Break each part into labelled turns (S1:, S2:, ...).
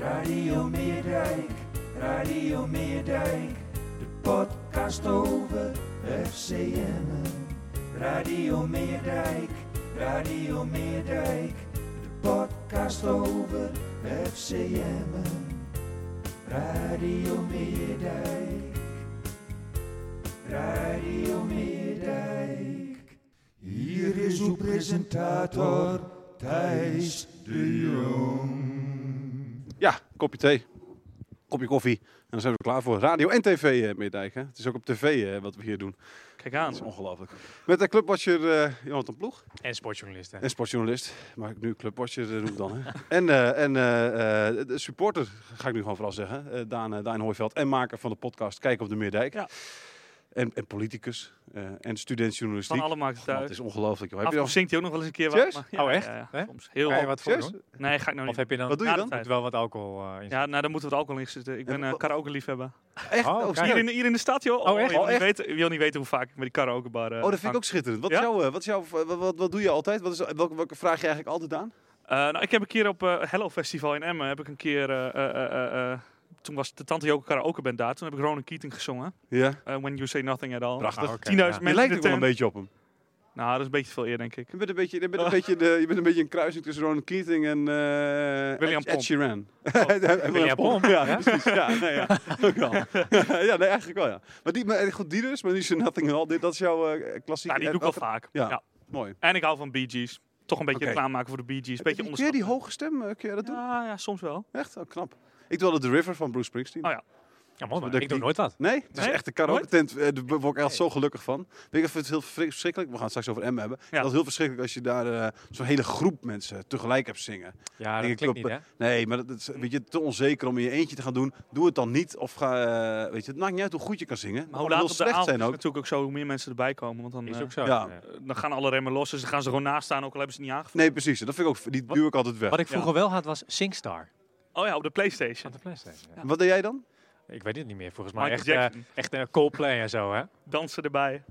S1: Radio Meerdijk, Radio Meerdijk, de podcast over FCM. Radio Meerdijk, Radio Meerdijk, de podcast over FCM. Radio Meerdijk, Radio Meerdijk. Hier is uw presentator Thijs de Jong.
S2: Ja, kopje thee, kopje koffie. En dan zijn we er klaar voor. Radio en tv, eh Meerdijk. Hè? Het is ook op tv eh, wat we hier doen.
S3: Kijk aan.
S2: Dat is ongelooflijk. Met de clubwatcher eh Jonathan Ploeg.
S3: En sportjournalisten.
S2: En sportjournalist. Maar ik nu clubwatcher eh, noem dan. Hè? en eh, en eh, eh, de supporter, ga ik nu gewoon vooral zeggen. eh, Daan, eh, Daan Hooiveld. En maker van de podcast Kijk op de Meerdijk.
S3: Ja.
S2: En, en politicus. eh, en studentjournalistiek.
S3: Van alle markten
S2: Man, Het
S3: thuis.
S2: is ongelooflijk. joh.
S3: Af
S2: Heb je
S3: en toe
S2: nog...
S3: zingt hij ook nog wel eens een keer wat.
S2: Serieus?
S3: maar ja,
S4: Oh, echt?
S3: ja, ja,
S4: Hè?
S3: soms. Heel
S4: Ga je
S3: wat.
S4: wat voor
S2: Serieus?
S4: doen?
S3: Nee, ga ik nou
S4: Of
S3: niet.
S4: heb je dan,
S2: Wat doe je
S3: Na
S2: dan?
S3: de tijd.
S4: moet wel wat alcohol eh, in?
S3: Ja, nou dan moeten we het alcohol in zitten. Ik ben
S2: wa-
S3: eh karaoke liefhebber.
S2: Echt?
S4: Oh,
S2: Oh,
S4: kijk.
S3: Hier
S2: serieus?
S3: in, hier in de stad joh.
S4: echt?
S3: Je wil,
S2: Oh,
S3: niet
S2: echt?
S3: weten, je wil niet weten hoe vaak ik met die karaoke bar eh,
S2: Oh, dat vind ik ook schitterend. Wat, is
S3: Ja?
S2: jouw, eh, wat, is jouw, wat, wat, wat doe je altijd? Wat is, welke, welke vraag je eigenlijk altijd aan?
S3: nou, ik heb een keer op eh Hello Festival in Emmen, heb ik een keer, eh, eh, eh, eh, eh, toen was de Tante Joke karaoke band daar. Toen heb ik Ronan Keating gezongen.
S2: Ja.
S3: Eh, When You Say Nothing At All.
S2: Prachtig.
S4: Ah, oké,
S3: 10.000
S4: ja.
S2: Je
S3: mensen
S2: lijkt
S3: in
S2: ook
S3: de
S2: wel een
S3: tent.
S2: beetje op hem.
S3: Nou, dat is een beetje veel eer, denk ik.
S2: Je bent een beetje, je bent
S3: Oh.
S2: een, beetje, de, je bent een, beetje een kruising tussen Ronan Keating en eh
S3: William
S2: Ed, Ed
S3: Pomp. Oh.
S2: Sheeran. William,
S4: Pomp.
S2: Ja, precies. Ja, nee, ja. Ook wel. ja, nee, eigenlijk wel, ja. Maar, die, maar goed, die dus, maar die is Nothing All. Dit, dat is jouw eh klassieke...
S3: Nou, die doe ik wel
S2: welke-
S3: vaak.
S2: Ja.
S3: Ja.
S2: Mooi.
S3: En ik hou van Bee Gees. Toch een beetje
S2: Oké.
S3: reclame maken voor de Bee Gees. Beetje
S2: Kun je
S3: onderschat.
S2: die hoge stem, eh, kun je dat doen?
S3: Ja, Ah, ja, soms wel.
S2: Echt? Oh, knap. Ik doe altijd The River van Bruce Springsteen.
S3: Oh, ja.
S4: Ja, mooi, maar
S2: Dat-
S4: ik doe
S2: die-
S4: nooit wat.
S2: Nee, het is
S3: Nee?
S2: echt de karaoke tent. eh, Daar word ik echt zo gelukkig van. Weet je, Ik vind het heel verschrik- verschrikkelijk. We gaan het straks over M hebben.
S3: Ja.
S2: Dat is heel verschrikkelijk als je daar eh, zo'n hele groep mensen tegelijk hebt zingen.
S4: Ja,
S2: Ik
S4: dat klinkt niet,
S2: klop,
S4: hè?
S2: Nee, maar dat, dat is weet je, te onzeker om in je eentje te gaan doen. Doe het dan niet. Of ga, eh, weet je, het maakt niet uit hoe goed je kan zingen.
S3: Maar hoe
S2: Het
S3: laat
S2: kan
S3: op de
S2: heel
S3: avond
S2: slecht zijn
S3: is
S2: ook.
S3: natuurlijk ook zo, hoe meer mensen erbij komen. Want dan,
S4: Is
S3: eh,
S4: ook zo.
S2: ja.
S4: ja.
S3: eh, dan gaan alle remmen los, dus dan gaan ze gewoon naast staan, ook al hebben ze het niet aangevoerd.
S2: Nee, precies. Dat vind ik ook, die
S4: Wat-
S2: duw ik altijd weg.
S4: Wat
S2: Wat,
S4: ik vroeger wel had was SingStar
S3: Oh ja, op de Playstation.
S4: van de PlayStation. ja.
S2: deed jij dan?
S4: Ik weet het niet meer, volgens mij.
S3: Michael
S4: Echt, eh,
S3: Jackson.
S4: echt een Coldplay en zo, hè?
S3: Dansen erbij.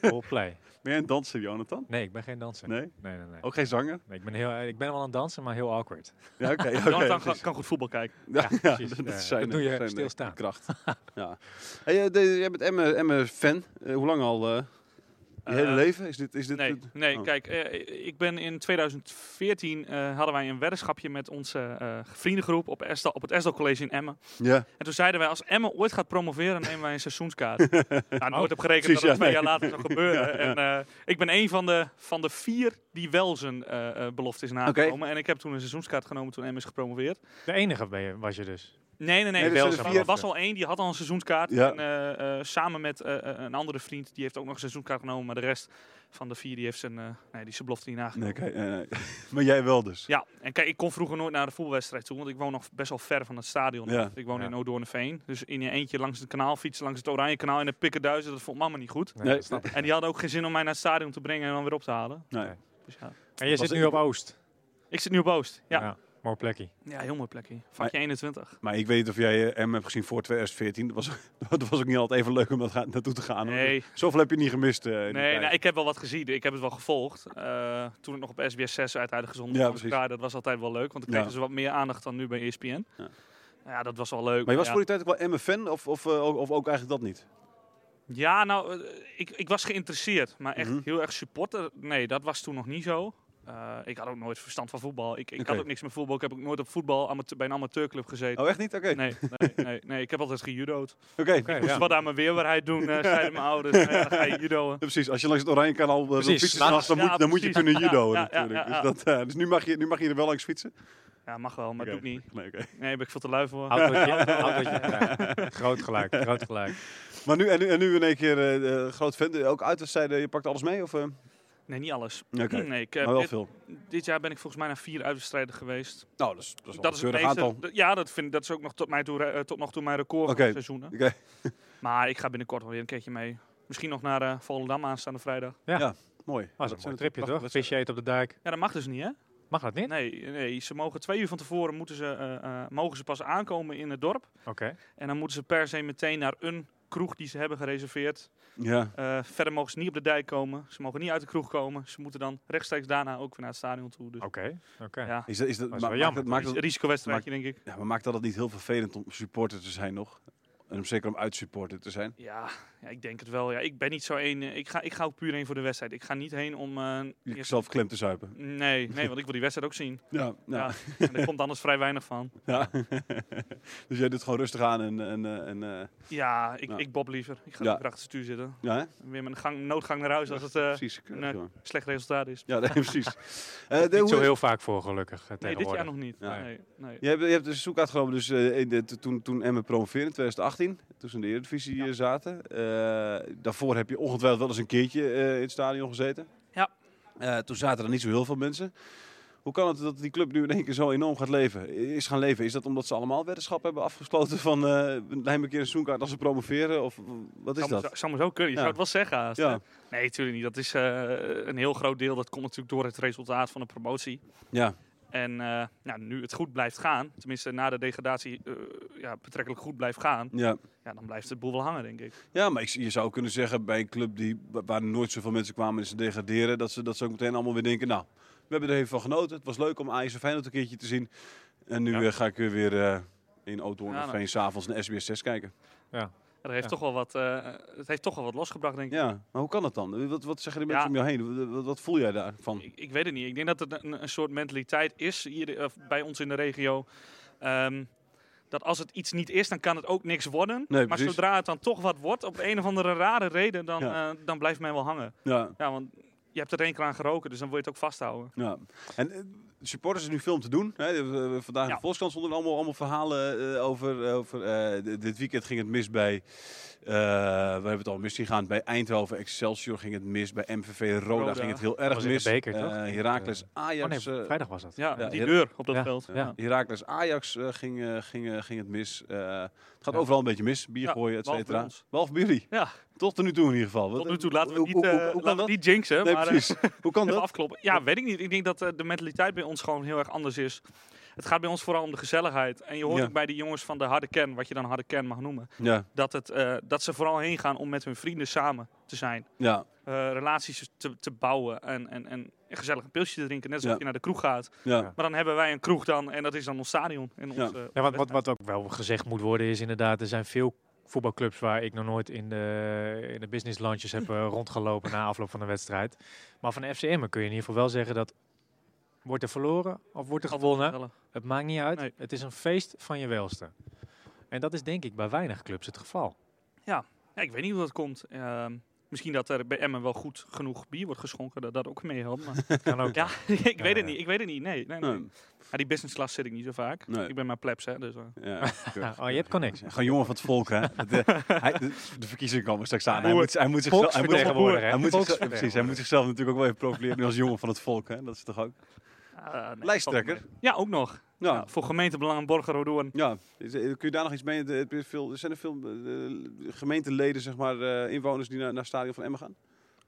S4: Coldplay.
S2: Ben jij een danser, Jonathan?
S4: Nee, ik ben geen danser.
S2: Nee?
S4: Nee, nee, nee.
S2: Ook geen zanger?
S4: Nee, ik, ben heel, eh, ik ben wel een danser, maar heel awkward.
S2: Ja, oké. oké,
S3: Jonathan kan-
S2: precies.
S3: kan goed voetbal kijken.
S2: Ja, ja,
S4: precies.
S2: dat,
S4: Ja,
S2: is
S4: dat
S2: zijn,
S4: doe je
S2: zijn, eh,
S4: stilstaan.
S2: kracht. ja. Hey, eh, de- jij bent Emme, Emme fan. Eh, hoe lang al? eh je hele
S3: Eh,
S2: leven? Is dit, is dit
S3: Nee,
S2: het-
S3: nee
S2: Oh.
S3: kijk, eh, ik ben in 2014 eh, hadden wij een weddenschapje met onze eh, vriendengroep op, Estel, op het Estel College in Emmen.
S2: Ja.
S3: En toen zeiden wij, als Emmen ooit gaat promoveren, nemen wij een seizoenskaart. nou, nooit op
S2: Oh,
S3: gerekend
S2: precies,
S3: dat
S2: ja,
S3: het
S2: nee.
S3: twee jaar later zou gebeuren. En, eh, ik ben een van de, van de vier die wel zijn eh, eh, belofte is nagekomen. En ik heb toen een seizoenskaart genomen toen Emmen is gepromoveerd.
S4: De enige ben je, was je dus.
S3: Nee, nee, nee.
S2: Nee,
S3: er
S2: er
S3: wel
S2: zijn
S3: zo.
S2: vier.
S3: Er was al één, die had al een seizoenskaart.
S2: Ja.
S3: En, eh, eh, samen met eh, eh, een andere vriend, die heeft ook nog een seizoenskaart genomen. Maar de rest van de vier, die heeft zijn, eh, nee, die is zijn belofte niet nagekomen.
S2: Nee, kijk, nee, nee. maar jij wel dus.
S3: Ja, en kijk, ik kon vroeger nooit naar de voetbalwedstrijd toe, want ik woon nog best wel ver van het stadion.
S2: Ja.
S3: Ik woon
S4: Ja.
S3: in Odoornveen, dus in je eentje langs het kanaal fietsen, langs het Oranje Kanaal en de Pikkenduizen, dat vond mama niet goed.
S2: Nee.
S4: dat snap ik.
S3: En die hadden ook geen zin om mij naar het stadion te brengen en dan weer op te halen.
S2: Nee.
S3: Dus ja.
S4: En je
S2: Was
S4: zit nu
S2: ik-
S4: op Oost.
S3: Ik zit nu op Oost. Ja, ja.
S4: Ja, Mooi plekje.
S3: heel mooi plekje. Vakje 21.
S2: Maar ik weet niet of jij eh, M hebt gezien voor 2014. Dat was, dat was ook niet altijd even leuk om daar naartoe te gaan. hoor.
S3: Nee.
S2: Zoveel heb je niet gemist. eh, in die
S3: Nee,
S2: tijd.
S3: nou, ik heb wel wat gezien. Ik heb het wel gevolgd. Eh, toen ik nog op SBS 6 uiteindelijk
S2: Ja,
S3: gezond was.
S2: precies.
S3: Ja, dat was altijd wel leuk. Want dan kregen
S2: Ja.
S3: ze wat meer aandacht dan nu bij E ESPN.
S2: Ja.
S3: Ja, dat was wel leuk.
S2: Maar je was
S3: ja.
S2: voor die tijd ook wel Emmen-fan of, of, eh, ook- of ook eigenlijk dat niet?
S3: Ja, nou, eh, ik, ik was geïnteresseerd. Maar echt
S2: Mhm.
S3: heel erg supporter. Nee, dat was toen nog niet zo. Eh, ik had ook nooit verstand van voetbal. Ik, ik
S2: Oké.
S3: had ook niks met voetbal. Ik heb ook nooit op voetbal amateur, bij een amateurclub gezeten.
S2: Oh, echt niet? Oké.
S3: Nee, nee, nee, nee, ik heb altijd gejudo'd.
S2: Oké.
S4: Oké,
S3: Moest
S4: ja.
S3: wat aan mijn weerbaarheid doen, eh, zeiden mijn ouders. Nee, dan ga je judoën.
S2: Ja, precies, als je langs het Oranje kanaal eh, wil
S4: Precies,
S2: fietsen,
S4: laat-
S2: s'nachts, dan, moet,
S3: ja,
S2: dan moet je
S3: precies.
S2: kunnen judo
S3: Ja, ja, ja,
S2: natuurlijk.
S3: ja,
S2: Dus, dat, eh, dus nu, mag je, nu mag je er wel langs fietsen.
S3: Ja, mag wel, maar
S2: Oké.
S3: doe ik niet.
S2: Nee, oké.
S3: Nee, ben ik veel te lui voor.
S4: Oud wat je- oud wat je krijgt. Groot gelijk, groot gelijk.
S2: Maar nu, en nu, en nu in één keer eh, eh, groot fan, eh, ook uitwedstrijden, je pakt alles mee? Of, eh?
S3: Nee, niet alles.
S2: Oké,
S3: Nee, ik, eh,
S2: maar wel
S3: dit,
S2: veel.
S3: dit jaar ben ik volgens mij naar vier uitwedstrijden geweest.
S2: Nou, dat is, dat is, wel een
S3: het
S2: keurig
S3: meeste-
S2: aantal.
S3: d- Ja, dat, vind, dat is ook nog tot, mij toe, eh, tot nog toe mijn record
S2: Oké.
S3: van seizoenen.
S2: Oké.
S3: Maar ik ga binnenkort wel weer een keertje mee. Misschien nog naar eh Volendam aanstaande vrijdag.
S2: Mooi.
S4: Was Ah, een
S2: zijn
S4: mooi
S2: het-
S4: tripje toch?
S2: prachtige
S4: Visje eten op de dijk.
S3: Ja, dat mag dus niet, hè?
S4: Mag dat niet?
S3: Nee, nee ze mogen twee uur van tevoren moeten ze, eh, eh, mogen ze pas aankomen in het dorp.
S4: Oké.
S3: En dan moeten ze per se meteen naar een kroeg die ze hebben gereserveerd.
S2: wedstrijden.
S3: Eh, verder mogen ze niet op de dijk komen. Ze mogen niet uit de kroeg komen. Ze moeten dan rechtstreeks daarna ook weer naar het stadion toe. Dus,
S4: Oké. Oké.
S3: ja,
S2: Ja. Is, dat- is dat,
S4: Dat is
S2: ma-
S4: wel
S2: maakt,
S4: jammer.
S2: het, maakt,
S3: ris-
S2: het,
S3: risicowedstrijdje, denk ik.
S2: ja, maar maakt dat het niet heel vervelend om supporter te zijn nog? En om zeker om uitsupporter te zijn.
S3: Ja, ja, ik denk het wel. Ja, ik ben niet zo één. eh, Ik ga, ik ga ook puur heen voor de wedstrijd. Ik ga niet heen om... eh,
S2: Je
S3: eerst-
S2: zelf klem te zuipen.
S3: nee, nee, want ik wil die wedstrijd ook zien.
S2: Ja, ja.
S3: Ja. En er komt anders vrij weinig van.
S2: ja. dus jij doet gewoon rustig aan en... en, eh, en eh,
S3: Ja, ik,
S2: Ja.
S3: ik bob liever. Ik ga
S2: Ja.
S3: lekker achter het stuur zitten.
S2: ja, hè?
S3: Weer met een gang, noodgang naar huis als het eh,
S2: precies. keurig,
S3: nee.
S2: jongen.
S3: slecht resultaat is.
S2: Ja, nee, precies. Eh, de-
S4: Niet
S2: hoe-
S4: zo heel vaak voor gelukkig eh,
S3: Nee, dit jaar
S4: tegenwoordig.
S3: nog niet.
S2: Ja.
S3: Nee, nee.
S2: Je hebt, je hebt de zoekkaart genomen dus, eh, in de, to- toen, toen Emmen promoveerde in 2018, toen ze in de Eredivisie eh, zaten. Eh, daarvoor heb je ongetwijfeld wel eens een keertje eh, in het stadion gezeten.
S3: Ja.
S2: Eh, toen zaten er niet zo heel veel mensen. Hoe kan het dat die club nu in één keer zo enorm gaat leven? Is gaan leven? Is dat omdat ze allemaal weddenschap hebben afgesloten van eh neem een keer een zoekkaart als ze promoveren? Of wat is
S3: Zou me zo-
S2: dat?
S3: Zou me zo kunnen.
S2: Ja.
S3: Je zou het wel zeggen haast.
S2: Ja,
S3: hè? Nee, natuurlijk niet. Dat is eh, een heel groot deel. Dat komt natuurlijk door het resultaat van de promotie.
S2: ja,
S3: En eh, nou, nu het goed blijft gaan, tenminste na de degradatie eh, ja, betrekkelijk goed blijft gaan,
S2: ja.
S3: ja, dan blijft het boel wel hangen, denk ik.
S2: ja maar ik, je zou kunnen zeggen bij een club die, wa- waar nooit zoveel mensen kwamen en ze degraderen, dat ze, dat ze ook meteen allemaal weer denken, nou, we hebben er even van genoten. Het was leuk om Ajax en Feyenoord een keertje te zien. En nu
S4: Ja.
S2: eh, ga ik weer eh, in Oudhoorn
S3: Ja,
S2: of
S3: nou.
S2: Veen s'avonds naar SBS 6 kijken.
S3: Ja, dat heeft
S4: Ja.
S3: toch wel wat, eh, het heeft toch wel wat losgebracht, denk ik.
S2: Ja, maar hoe kan dat dan? Wat, wat zeggen die mensen
S3: Ja.
S2: om jou heen? Wat, wat- wat voel jij daarvan?
S3: Ik, ik weet het niet. Ik denk dat het een, een soort mentaliteit is hier eh, bij ons in de regio. ehm, dat als het iets niet is, dan kan het ook niks worden.
S2: Nee,
S3: maar
S2: precies.
S3: zodra het dan toch wat wordt, op een of andere rare reden, dan,
S2: Ja.
S3: eh, dan blijft men wel hangen.
S2: Ja,
S3: Ja, want je hebt er één keer aan geroken, dus dan wil je het ook vasthouden.
S2: ja. En eh, supporters is nu veel om te doen. Hè. We- we- we- Vandaag in
S3: Ja.
S2: de Volkskrant stonden allemaal, allemaal verhalen eh, over... over eh, d- dit weekend ging het mis bij... eh we hebben het al mis zien gaan. Bij Eindhoven, Excelsior ging het mis. Bij MVV Roda,
S3: Roda.
S2: ging het heel erg
S4: was in de
S2: mis.
S4: beker,
S2: Eh,
S4: toch?
S2: Heracles, Ajax...
S4: Oh nee,
S2: eh,
S4: vrijdag was dat.
S3: Ja,
S2: Ja,
S3: die
S2: ja.
S3: deur op dat
S4: Ja,
S3: veld.
S2: Ja.
S3: Ja.
S2: Herakles Ajax eh, ging, eh, ging, eh, ging het mis. Eh, het gaat
S4: Ja.
S2: overal een beetje mis. Bier
S3: Ja,
S2: gooien, et
S3: behalve bij
S2: cetera.
S3: ons.
S2: Behalve bij jullie.
S3: Ja.
S2: Tot nu toe in ieder geval.
S3: Tot
S2: Wat-
S3: nu toe laten we
S2: hoe-
S3: het niet,
S2: hoe-
S3: eh,
S2: hoe- hoe kan
S3: laten we
S2: dat?
S3: het niet jinxen,
S2: Nee,
S3: maar eh,
S2: precies. Hoe kan
S3: even
S2: dat?
S3: afkloppen. Ja, weet ik niet. Ik denk dat eh, de mentaliteit bij ons gewoon heel erg anders is. Het gaat bij ons vooral om de gezelligheid. En je hoort
S2: Ja.
S3: ook bij de jongens van de harde kern, wat je dan harde kern mag noemen.
S2: Ja,
S3: dat, het, eh, dat ze vooral heen gaan om met hun vrienden samen te zijn.
S2: ja,
S3: Eh, relaties te, te bouwen en, en, en gezellig een pilsje te drinken. Net alsof
S2: Ja.
S3: je naar de kroeg gaat.
S2: ja.
S3: Maar dan hebben wij een kroeg dan en dat is dan ons stadion. En ons,
S2: Ja.
S3: eh,
S4: Ja, wat, wat,
S3: wedstrijd.
S4: wat ook wel gezegd moet worden is inderdaad, er zijn veel voetbalclubs waar ik nog nooit in de, in de business lunches heb eh, rondgelopen na afloop van een wedstrijd. Maar van de FCM kun je in ieder geval wel zeggen dat wordt er verloren of wordt er
S3: Altijd
S4: gewonnen,
S3: gezellig.
S4: het maakt niet uit.
S3: Nee.
S4: Het is een feest van je welste. En dat is denk ik bij weinig clubs het geval.
S3: Ja, ik weet niet hoe dat komt. Ehm, misschien dat er bij Emmen wel goed genoeg bier wordt geschonken. Dat dat ook meehelpt. Maar
S4: Kan ook.
S3: ja, ik weet
S4: ja.
S3: het niet. Ik weet het niet. Nee, nee, nee.
S2: Nee,
S3: Ja, die business class zit ik niet zo vaak.
S2: Nee.
S3: Ik ben maar plebs, hè. Dus, eh.
S2: ja.
S4: Oh, je hebt connect.
S2: Gewoon jongen van het volk, hè? De, hij, de, de verkiezingen komen straks aan. Hij
S3: Boer.
S2: moet, hij moet zichzelf, hij moet, hij moet,
S4: Volksvertegenwoordiger, hè?
S2: zichzelf- precies, hij moet zichzelf natuurlijk ook wel even profileren nu als jongen van het volk, hè? Dat is toch ook?
S3: Ah, nee,
S2: Lijsttrekker.
S3: valt me mee. Ja, ook nog. Ja,
S2: Ja,
S3: voor gemeentebelangen Borgerrodoen.
S2: Ja, is- eh, kun je daar nog iets mee? Heb je veel, zijn er veel eh, gemeenteleden, zeg maar, eh, inwoners die naar, naar het stadion van Emmen gaan?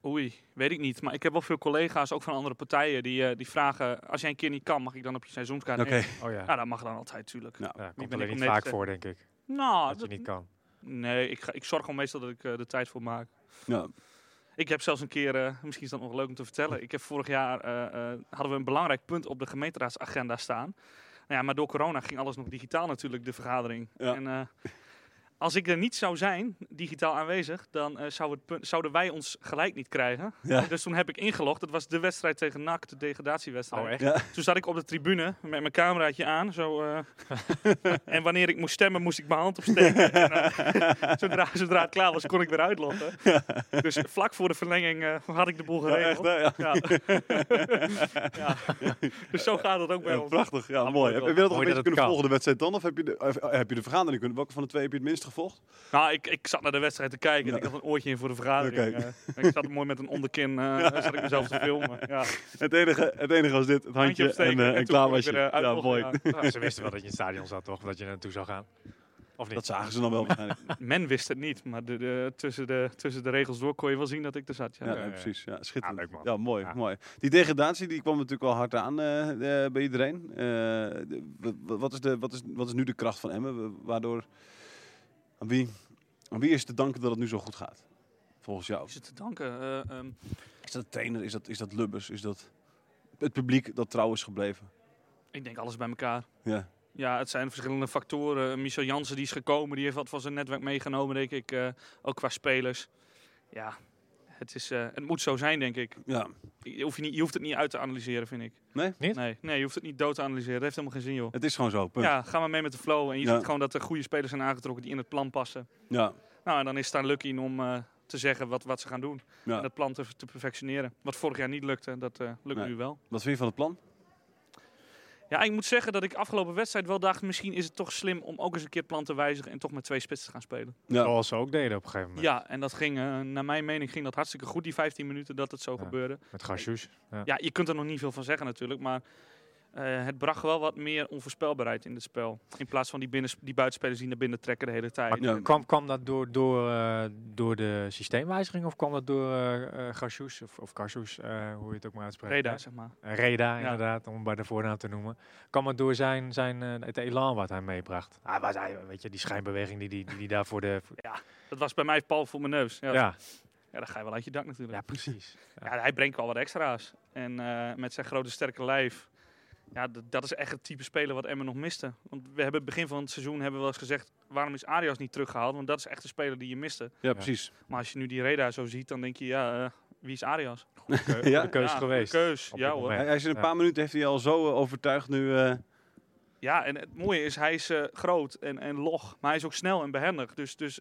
S3: Oei, weet ik niet. Maar ik heb wel veel collega's, ook van andere partijen, die, eh, die vragen... als jij een keer niet kan, mag ik dan op je seizoenskaart nemen?
S4: Oh ja.
S3: Ja, dat mag dan altijd, tuurlijk.
S2: Ja.
S4: Ja,
S3: ben
S4: komt alleen
S3: ik
S4: niet
S3: net,
S4: vaak
S3: eh,
S4: voor, denk ik.
S3: Nou,
S4: Dat je
S3: dat-
S4: niet kan.
S3: nee, ik, ga, ik zorg gewoon meestal dat ik eh, er tijd voor maak.
S2: Ja.
S3: Ik heb zelfs een keer, eh, misschien is dat nog leuk om te vertellen... ik heb vorig jaar, eh, eh, hadden we een belangrijk punt op de gemeenteraadsagenda staan. Nou ja, maar door corona ging alles nog digitaal natuurlijk, de vergadering.
S2: Ja.
S3: En, eh, als ik er niet zou zijn, digitaal aanwezig, dan eh, zou het punt, zouden wij ons gelijk niet krijgen.
S2: Ja.
S3: Dus toen heb ik ingelogd. Dat was de wedstrijd tegen NAC, de degradatiewedstrijd.
S4: Oh, echt?
S2: Ja.
S3: Toen zat ik op de tribune met mijn cameraatje aan. Zo, eh, en wanneer ik moest stemmen, moest ik mijn hand opsteken. En, eh, zodra, zodra het klaar was, kon ik weer uitloggen. Dus vlak voor de verlenging eh, had ik de boel
S2: Ja, echt,
S3: geregeld.
S2: hè? Ja.
S3: Ja. Ja. Dus zo gaat het ook bij
S2: Ja,
S3: ons.
S2: prachtig, ja,
S3: Ah,
S2: mooi.
S3: mooi
S2: Heb
S3: wel.
S2: heb je dat nog
S4: Mooi
S2: een beetje
S4: dat
S2: kunnen
S4: het kan.
S2: eh, volgen, de wedstrijd dan? Of heb je de, of heb je de vergadering kunnen? Welke van de twee heb je het minst gevolgd?
S3: Nou, ik, ik zat naar de wedstrijd te kijken en
S2: Ja.
S3: ik had een oortje in voor de vergadering.
S2: Oké.
S3: eh. ik zat mooi met een onderkin eh zat ik mezelf te filmen. Ja.
S2: Het enige, het enige was dit, het handje, en,
S3: opsteken
S2: eh, en
S3: toen
S2: klaar
S3: kon ik
S2: was je.
S3: weer, eh,
S2: Ja,
S3: uitloggen,
S2: mooi.
S3: ja.
S4: Ze wisten wel dat je in het stadion zat, toch? Dat je er naartoe zou gaan. Of niet?
S2: Dat zagen ze dan wel waarschijnlijk.
S3: Men wist het niet, maar de, de- tussen, de, tussen de regels door kon je wel zien dat ik er zat. Ja.
S2: Ja,
S4: ja,
S2: nee,
S4: ja.
S2: precies. Ja, schitterend.
S4: Ah,
S2: Ja,
S4: leuk, man.
S2: mooi,
S4: Ja.
S2: mooi. Die degradatie die kwam natuurlijk wel hard aan eh, eh, bij iedereen. Eh, de- wa- wa- wat, is de, wat, is, wat is nu de kracht van Emmen? Wa- Waardoor, aan wie, aan wie is te danken dat het nu zo goed gaat? Volgens jou.
S3: Is het te danken? eh, ehm,
S2: Is dat de trainer? Is dat, is dat Lubbers? Is dat het publiek dat trouw is gebleven?
S3: ik denk alles bij elkaar.
S2: Ja.
S3: Ja, het zijn verschillende factoren. Eh, Michel Jansen die is gekomen, die heeft wat van zijn netwerk meegenomen, denk ik. eh, ook qua spelers. Ja, het, is, eh, het moet zo zijn, denk ik.
S2: ja.
S3: Je hoeft, je niet, je hoeft het niet uit te analyseren, vind ik.
S2: Nee?
S4: Niet?
S3: Nee, nee je hoeft het niet dood te analyseren. Dat heeft helemaal geen zin, joh.
S2: Het is gewoon zo, punt. Ja.
S3: Ja, ga maar mee met de flow. En je
S2: Ja.
S3: ziet gewoon dat er goede spelers zijn aangetrokken die in het plan passen.
S2: Ja.
S3: Nou, en dan is het aan Lucky om eh, te zeggen wat, wat ze gaan doen. En
S2: Ja.
S3: dat plan te, te perfectioneren. Wat vorig jaar niet lukte, dat eh, lukt
S2: Nee.
S3: nu wel.
S2: Wat vind je van het plan?
S3: Ja, ik moet zeggen dat ik afgelopen wedstrijd wel dacht... misschien is het toch slim om ook eens een keer het plan te wijzigen... en toch met twee spitsen te gaan spelen.
S2: Ja.
S4: Zoals ze ook deden op een gegeven moment.
S3: Ja, en dat ging, eh, naar mijn mening, ging dat hartstikke goed, die 15 minuten dat het zo
S4: Ja.
S3: gebeurde.
S4: Met Gashoes.
S3: Ja, je kunt er nog niet veel van zeggen natuurlijk, maar eh, het bracht wel wat meer onvoorspelbaarheid in het spel. In plaats van die, binnen, die buitenspelers die naar binnen trekken de hele tijd.
S4: Maar
S2: Ja.
S4: kwam, kwam dat door, door, eh, door de systeemwijziging of kwam dat door eh eh, Gashoes of, of Gashoes, eh, hoe je het ook maar uitspreekt?
S3: Reda,
S4: hè?
S3: zeg maar.
S4: Eh, Reda, inderdaad, om het bij de voornaam te noemen. Kwam het door zijn, zijn, eh, het elan wat hij meebracht? Ah, was hij, weet je, die schijnbeweging die die, die, die daar voor de... voor-
S3: Dat was bij mij pal voor mijn neus. Ja, ja.
S4: ja,
S3: dan ga je wel uit je dak natuurlijk.
S4: ja, precies.
S3: Ja, hij brengt wel wat extra's. En eh, met zijn grote sterke lijf. Ja, d- dat is echt het type speler wat Emmen nog miste. Want we hebben begin van het seizoen hebben we wel eens gezegd... waarom is Arias niet teruggehaald? Want dat is echt de speler die je miste.
S2: Ja, precies.
S3: Maar als je nu die Reda zo ziet, dan denk je... ja, eh, wie is Arias?
S4: Goede keu-
S2: Ja.
S4: goede keuze
S3: Ja,
S4: geweest.
S3: Keus,
S4: op
S3: ja
S4: dit
S3: hoor.
S4: moment.
S2: Hij, hij is in een
S4: Ja.
S2: paar minuten heeft hij al zo eh, overtuigd nu. eh,
S3: Ja, en het mooie is, hij is eh, groot en, en log. Maar hij is ook snel en behendig. Dus, dus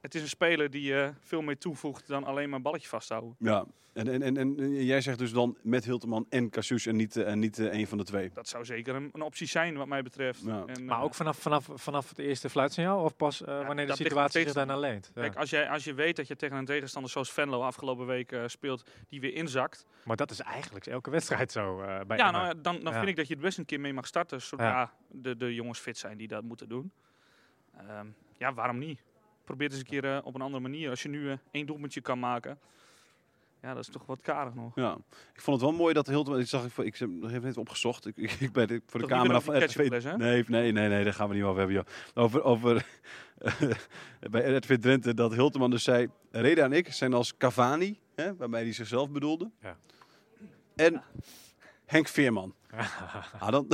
S3: het is een speler die eh, veel meer toevoegt dan alleen maar een balletje vasthouden.
S2: ja. En, en, en, en jij zegt dus dan met Hilteman en Cassius en niet, eh, en niet eh, een van de twee.
S3: Dat zou zeker een, een optie zijn wat mij betreft.
S2: Ja.
S3: En,
S4: Maar
S3: eh,
S4: ook vanaf, vanaf, vanaf het eerste fluitsignaal of pas eh, wanneer de
S3: dat ligt
S4: situatie zich
S3: steeds-
S4: daarna leent? Ja.
S3: Kijk, als, jij, als je weet dat je tegen een tegenstander zoals Venlo afgelopen week eh, speelt, die weer inzakt.
S4: Maar dat is eigenlijk elke wedstrijd zo eh, bij
S3: ja,
S4: Emma.
S3: nou, ja, dan, dan
S4: Ja.
S3: vind ik dat je het best een keer mee mag starten. Zodra
S4: Ja.
S3: de, de jongens fit zijn die dat moeten doen. Ehm, ja, waarom niet? Probeer het eens een keer eh, op een andere manier. Als je nu eh, één doelpuntje kan maken. Ja, dat is toch wat karig nog.
S2: Ja, ik vond het wel mooi dat Hilteman. Ik zag, ik, ik heb nog even net opgezocht. Ik, ik, ik ben dit voor de
S3: Toch niet
S2: camera
S3: meer over die
S2: RTV
S3: ketchupfles, hè?
S2: Nee, nee, nee, nee, daar gaan we niet over hebben, joh. Over, over bij RTV Drenthe dat Hilteman dus zei: Reda en ik zijn als Cavani, hè, waarmee hij zichzelf bedoelde.
S4: Ja.
S2: En Henk Veerman. Ah, dan,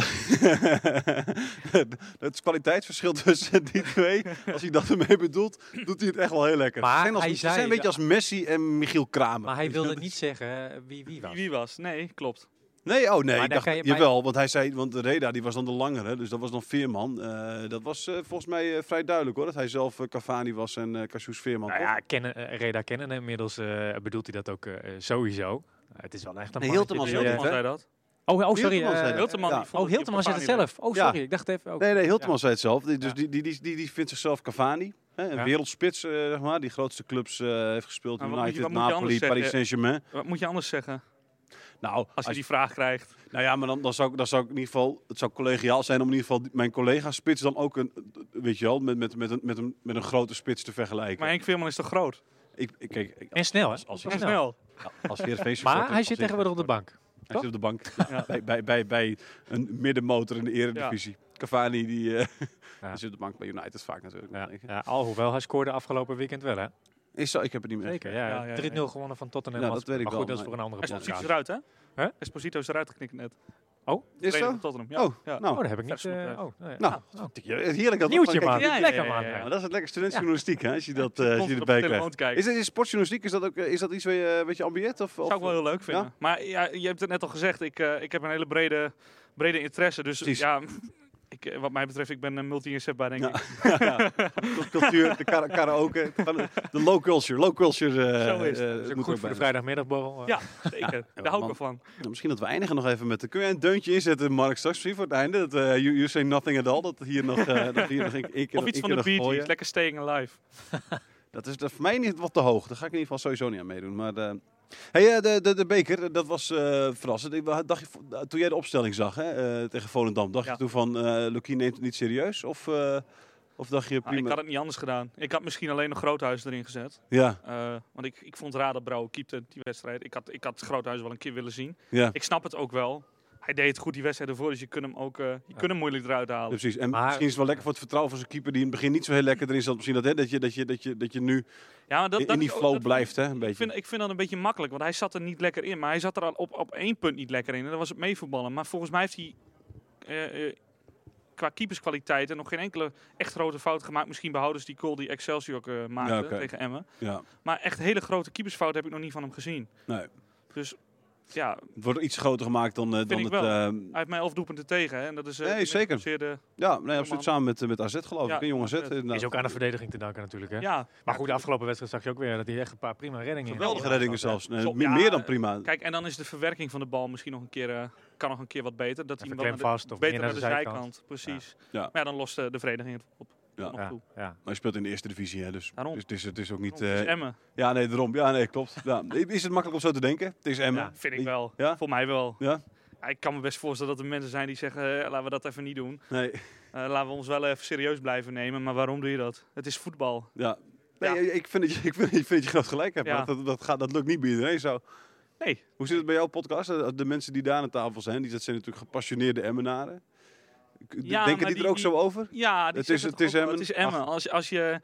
S2: het kwaliteitsverschil tussen die twee, als hij dat ermee bedoelt, doet hij het echt wel heel lekker.
S4: Maar
S2: Ze zijn als,
S4: hij
S2: ze
S4: zei-
S2: zijn een beetje als Messi en Michiel Kramer.
S4: Maar hij wilde niet zeggen eh, wie wie was.
S3: Wie was? Nee, klopt.
S2: Nee, oh nee,
S4: Maar
S2: ik
S4: dan
S2: dacht,
S4: kan je-
S2: jawel, want hij zei, want Reda die was dan de langere, dus dat was dan Veerman. Eh, dat was eh, volgens mij eh, vrij duidelijk hoor, dat hij zelf eh, Cavani was en eh Cassius Veerman.
S4: Nou
S2: toch?
S4: ja, kennen, eh, Reda kennen hem inmiddels eh, bedoelt hij dat ook eh, sowieso. Eh, het is wel echt een
S2: Nee,
S4: mannetje
S2: Hilterman
S4: die,
S2: zei
S4: eh,
S2: hè?
S3: Hilteman zei dat.
S4: Oh, oh, sorry.
S2: Hilterman
S4: eh,
S2: zei het.
S3: Hilterman
S2: ja.
S3: die vond
S4: Oh,
S3: dat je
S4: Hilterman zegt het
S3: Cavani
S4: zelf. Oh,
S2: Ja.
S4: sorry. Ik dacht even... ook.
S2: Nee, nee, Hilteman
S4: Ja.
S2: zei het zelf. Die- Dus
S4: Ja.
S2: die, die, die, die, die vindt zichzelf Cavani, hè, een
S4: Ja.
S2: wereldspits, eh, zeg maar, die grootste clubs eh, heeft gespeeld,
S3: Nou, wat moet je-
S2: United,
S3: wat moet je
S2: Napoli,
S3: anders
S2: Paris
S3: zeggen?
S2: Saint-Germain.
S3: Wat moet je anders zeggen
S2: Nou,
S3: als
S2: als
S3: je die vraag krijgt?
S2: nou ja, maar dan, dan, zou ik, dan zou ik in ieder geval, het zou collegiaal zijn om in ieder geval die- mijn collega spits dan ook een, weet je wel, met, met, met, een, met, een, met een grote spits te vergelijken.
S3: Maar Henk Veerman is toch groot?
S2: ik, ik, kijk, ik-
S4: En snel, hè?
S2: Als- als-
S4: En
S3: En
S4: snel.
S3: snel.
S2: Ja, als Heerenveen supporter-
S4: Maar hij
S2: als
S4: zit tegenwoordig op de bank.
S2: Hij zit op de bank. Bij, bij, bij, bij een middenmotor in de eredivisie. Cavani die, eh,
S4: Ja.
S2: die zit op de bank bij United vaak natuurlijk.
S4: Ja. Ja, alhoewel, hij scoorde afgelopen weekend wel, hè?
S2: Is zo, ik heb het niet meer.
S4: Zeker,
S3: Ja,
S4: ja.
S3: ja, ja.
S4: 3-0 gewonnen van Tottenham.
S2: Ja,
S4: was-
S2: dat weet ik
S4: maar
S2: wel,
S4: goed, dat is
S2: maar-
S4: voor een andere
S3: Esposito is
S4: podcast.
S3: eruit, hè?
S4: Hè?
S3: Esposito is eruit geknikt net.
S2: Is
S3: Trainer
S2: zo?
S3: van Tottenham. Ja.
S2: Oh,
S3: ja.
S4: Oh,
S2: nou.
S4: dat heb ik niet...
S3: Vers-
S4: eh, oh, nee.
S2: Nou,
S4: Ah, oh.
S2: Ja, heerlijk dat
S4: Nieuwtje,
S2: dat-
S4: man.
S3: ja, ja, ja,
S4: Lekker,
S3: ja,
S4: man.
S3: ja.
S2: Maar dat is het lekker studentenjournalistiek, hè? Als je dat, eh, als je
S3: Constant
S2: erbij
S3: op de
S2: krijgt.
S3: telefoon kijken.
S2: Is, dat, is sportjournalistiek, is dat, ook, eh, is dat iets wat je, wat je ambieert? Of, of,
S3: Zou ik wel heel leuk vinden. Maar ja, je hebt het net al gezegd, ik, eh, ik heb een hele brede, brede interesse. Dus
S2: Precies.
S3: ja, ik ik, eh, wat mij betreft, ik ben een multi-inzetbaar, denk
S2: Ja.
S3: ik.
S2: Ja, de cultuur, de kara- karaoke, van de- de low culture. Low culture eh,
S3: Zo is het.
S2: eh,
S4: Dat is
S2: moet
S4: ook
S2: er
S4: goed voor
S2: bij.
S4: de vrijdagmiddagborrel. eh.
S3: Ja, zeker. Daar hou ik wel van.
S2: Nou, misschien dat we eindigen nog even met... Kun jij een deuntje inzetten, Mark, straks misschien voor het einde? Dat, eh, you, you say nothing at all, dat hier nog, eh dat hier nog een, een keer
S3: Of iets
S2: een
S3: van
S2: keer
S3: de
S2: nog
S3: Bee Gees,
S2: gooien.
S3: lekker staying alive.
S2: Dat is dat voor mij niet wat te hoog. Daar ga ik in ieder geval sowieso niet aan meedoen. Maar eh, hey, eh, de, de, de beker, eh, dat was eh, verrassend. Ik wa- dacht, je vo- eh, toen jij de opstelling zag hè, eh, tegen Volendam, dacht
S3: Ja.
S2: je toen van... eh Lukien neemt het niet serieus? Of, eh, of dacht je
S3: Ah, ik
S2: prima?
S3: had het niet anders gedaan. Ik had misschien alleen nog Groothuis erin gezet.
S2: Ja,
S3: Eh, want ik, ik vond het raar dat Brouwer keepte die wedstrijd. Ik had, ik had Groothuis wel een keer willen zien.
S2: ja,
S3: Ik snap het ook wel. Hij deed het goed die wedstrijd ervoor, dus je kunt hem ook eh, je kunt hem moeilijk eruit
S2: Ja, Dus
S3: halen.
S2: precies. En
S4: Maar-
S2: misschien is het wel lekker voor het vertrouwen van zijn keeper... die in het begin niet zo heel lekker erin zat. Misschien dat, hè, dat, je, dat, je, dat, je, dat je nu
S3: Ja, maar dat,
S2: in,
S3: dat
S2: in die
S3: is ook-
S2: flow
S3: dat-
S2: blijft, hè, een beetje.
S3: Ik vind, ik vind dat een beetje makkelijk, want hij zat er niet lekker in. Maar hij zat er al op, op één punt niet lekker in en dat was het meevoetballen. Maar volgens mij heeft hij eh, eh, qua keeperskwaliteiten nog geen enkele echt grote fout gemaakt. Misschien behouden ze die goal die Excelsior ook, eh, maakte
S2: Ja, oké.
S3: tegen Emmen.
S2: Ja,
S3: Maar echt hele grote keepersfouten heb ik nog niet van hem gezien.
S2: nee.
S3: Dus ja,
S2: Het wordt iets groter gemaakt dan, eh, dan
S3: ik
S2: het...
S3: wel.
S2: eh,
S3: Hij heeft mij elf doelpunten tegen. Hè? En dat is eh,
S2: Nee,
S3: net
S2: zeker.
S3: zozeer de-
S2: ja, nee,
S3: man.
S2: absoluut samen met, eh, met AZ geloof
S3: Ja,
S2: ik. Een jong AZ.
S3: AZ.
S2: inderdaad.
S4: Is ook aan de verdediging te danken natuurlijk. Hè?
S3: ja.
S4: Maar goed, de afgelopen wedstrijd zag je ook weer dat hij echt een paar prima reddingen in
S2: Geweldige
S4: had.
S2: reddingen zelfs. Nee,
S3: Klopt,
S2: me-
S3: ja,
S2: meer dan
S3: eh,
S2: prima.
S3: Kijk, en dan is de verwerking van de bal misschien nog een keer, eh, kan nog een keer wat beter. Dat hij
S4: Even
S3: hem wel naar de,
S4: klemvast of
S3: beter
S4: meer
S3: naar de, zijkant. Precies.
S2: Ja.
S3: Maar ja, dan lost eh, de vereniging het op.
S2: Ja.
S3: Nog
S4: Ja,
S3: toe.
S4: ja.
S2: Maar je speelt in de eerste divisie, hè, dus,
S3: Daarom.
S2: dus het, is, het is ook niet...
S3: Het is
S2: eh,
S3: Oh, dus Emmen,
S2: ja, nee, daarom. Ja, nee, klopt. Ja. Is het makkelijk om zo te denken? Het is Emmen.
S4: Ja,
S3: vind ik wel.
S2: Ja?
S3: Voor mij wel.
S2: Ja?
S3: Ja, ik kan me best voorstellen dat er mensen zijn die zeggen, eh, laten we dat even niet doen.
S2: Nee,
S3: Eh, laten we ons wel even serieus blijven nemen. Maar waarom doe je dat? Het is voetbal.
S2: ja. Nee,
S3: Ja.
S2: Ik, vind dat je, ik, vind, ik vind dat je groot gelijk hebt.
S3: Ja.
S2: want Dat, dat, gaat, dat lukt niet bij iedereen zo.
S3: Nee.
S2: Hoe zit het bij jouw podcast? Eh, De de mensen die daar aan de tafel zijn, die, dat zijn natuurlijk gepassioneerde Emmenaren. Ik-
S3: Ja,
S2: Denken
S3: maar
S2: die,
S3: die-
S2: er ook
S3: die-
S2: zo over?
S3: Ja, die
S2: Het
S3: zegt
S2: is- het is
S3: toch ook wel.
S2: Emmen.
S3: Het is Emmen. Als, als je,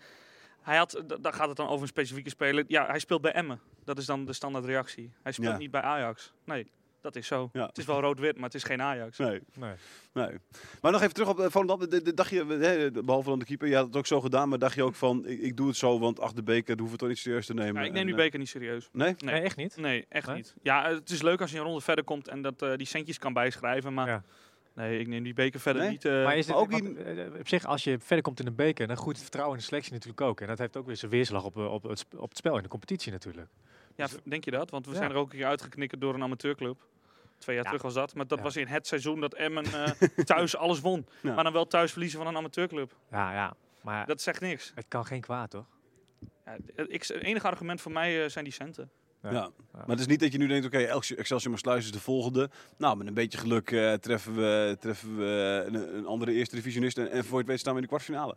S3: hij had, d- dan gaat het dan over een specifieke speler. Ja, hij speelt bij Emmen. Dat is dan de standaard reactie. Hij speelt
S2: Ja.
S3: niet bij Ajax. Nee, dat is zo.
S2: Ja.
S3: Het is wel rood-wit, maar het is geen Ajax.
S2: Nee,
S4: Nee.
S2: nee. Maar nog even terug op eh, Volendam. De, de, dacht je, hè, behalve dan de keeper, je had het ook zo gedaan, maar dacht je ook van, ik, ik doe het zo, want achter de beker hoeven we het toch niet serieus te nemen.
S3: Ja, ik neem die
S2: En, eh,
S3: beker niet serieus.
S2: Nee?
S3: Nee.
S4: Nee, echt niet.
S3: Nee, echt
S4: Nee?
S3: niet. Ja, eh, het is leuk als je een ronde verder komt en dat eh, die centjes kan bijschrijven. Maar
S4: Ja.
S3: nee, ik neem die beker verder
S2: Nee?
S3: niet. eh,
S4: Maar is
S2: maar
S4: het
S2: ook
S4: ook op zich, als je verder komt in de beker, dan groeit het vertrouwen in de selectie natuurlijk ook. En dat heeft ook weer zijn weerslag op, eh, op, het, sp- op het spel in de competitie natuurlijk.
S3: ja, v- denk je dat? Want we
S4: Ja.
S3: zijn er ook een keer uitgeknikkerd door een amateurclub. Twee jaar
S4: Ja.
S3: terug was dat. Maar dat
S4: Ja.
S3: was in het seizoen dat Emmen eh, thuis alles won.
S2: Ja.
S3: Maar dan wel thuis verliezen van een amateurclub.
S4: Ja, ja. Maar
S3: Dat zegt niks.
S4: het kan geen kwaad, toch?
S3: Ja, het ik- het enige argument voor mij eh, zijn die centen.
S2: Ja.
S4: Ja.
S2: maar het is niet dat je nu denkt, oké, Excelsior Excelsior Maassluis is de volgende. Nou, met een beetje geluk eh, treffen we, treffen we een, een andere eerste divisionist en, en voor je het weet staan we in de kwartfinale.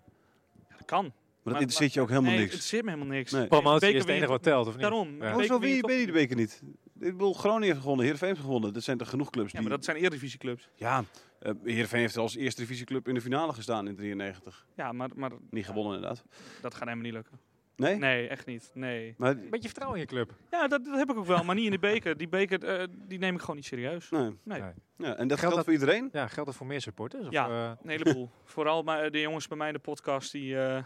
S2: Maar
S3: Ja, dat kan.
S2: dat
S3: Maar-
S2: interesseert je ook helemaal
S3: nee,
S2: niks.
S3: Het zit me helemaal niks.
S2: Nee.
S3: Beker
S4: Promotie is
S3: win
S4: het
S3: je
S4: enige
S3: toch-
S4: wat telt, of niet?
S3: Daarom.
S4: Ja. Oh,
S3: Beker
S2: Hoezo
S3: win je
S2: wie
S3: toch
S2: ben je
S3: niet.
S2: de beker niet? Ik bedoel, Groningen heeft gewonnen, Heerenveen heeft gewonnen. Dat zijn toch genoeg clubs
S3: Ja,
S2: die...
S3: maar dat zijn eredivisieclubs.
S2: Ja, eh, Heerenveen heeft als eerste divisieclub in de finale gestaan in 93.
S3: Ja, maar, maar
S2: Niet gewonnen inderdaad.
S3: dat gaat helemaal niet lukken.
S2: Nee?
S3: Nee, echt niet. Nee.
S2: Maar,
S4: Een beetje vertrouwen in je club.
S3: Ja, dat, dat heb ik ook wel, maar niet in de beker. Die beker, eh, die neem ik gewoon niet serieus.
S2: nee.
S3: Nee.
S4: Nee.
S2: Ja, en dat
S4: Geldt
S2: geldt
S4: dat-
S2: voor iedereen?
S4: Ja, geldt dat voor meer supporters? Of,
S3: Ja.
S4: eh,
S3: Een heleboel. Vooral maar de jongens bij mij in de podcast, die, eh,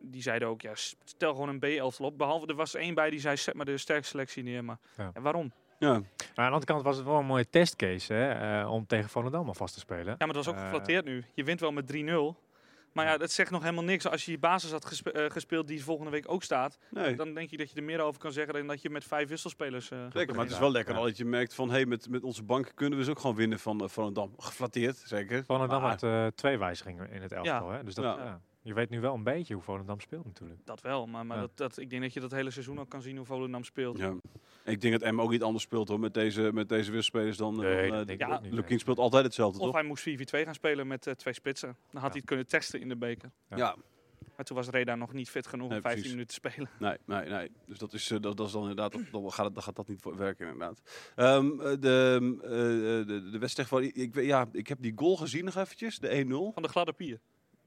S3: die zeiden ook, ja, stel gewoon een B-elftal op. Behalve, er was één bij die zei, zet maar de sterkste selectie neer. Maar
S4: Ja.
S3: ja, waarom?
S2: Ja.
S4: Maar aan de andere kant was het wel een mooie testcase hè, eh, om tegen Volendam vast te spelen.
S3: Ja, maar dat was ook
S4: Eh,
S3: geflatteerd nu. Je wint wel met 3-0. Maar ja, dat zegt nog helemaal niks. Als je je basis had gespe- eh, gespeeld die volgende week ook staat,
S2: Nee.
S3: dan denk je dat je er meer over kan zeggen dan dat je met vijf wisselspelers... eh,
S2: Zeker, maar het is wel lekker al dat je merkt van, hé, hey, met, met onze bank kunnen we dus ook gewoon winnen van, eh, van een dam. Geflatteerd, zeker.
S4: Volendam
S3: Ah.
S2: Maar-
S4: had eh, twee wijzigingen in het elftal. Hè? Dus dat,
S2: Ja.
S4: ja. Je weet nu wel een beetje hoe Volendam speelt natuurlijk.
S3: dat wel, maar, maar
S4: Ja.
S3: dat, dat, ik denk dat je dat hele seizoen al kan zien hoe Volendam speelt.
S2: Ja. Ik denk dat M ook niet anders speelt hoor, met deze, met deze wisselspelers dan... eh, dan, eh,
S3: ik ook
S4: niet.
S2: Lukien speelt altijd hetzelfde,
S3: Of
S2: toch?
S3: hij moest 4-4-2 gaan spelen met eh, twee spitsen. Dan had
S4: Ja.
S3: hij het kunnen testen in de beker.
S4: Ja.
S2: Ja,
S3: Maar toen was Reda nog niet fit genoeg
S2: Nee,
S3: om 15
S2: precies.
S3: minuten te spelen.
S2: nee, nee, nee. Dus dat is, eh, dat, dat is dan inderdaad, dat, dan, gaat, het- dan gaat dat niet voor- werken inderdaad. Ehm, eh, de, eh, de, de wedstrijd van, ik, weet- ja, ik heb die goal gezien nog eventjes, de 1-0.
S3: Van de gladde pier.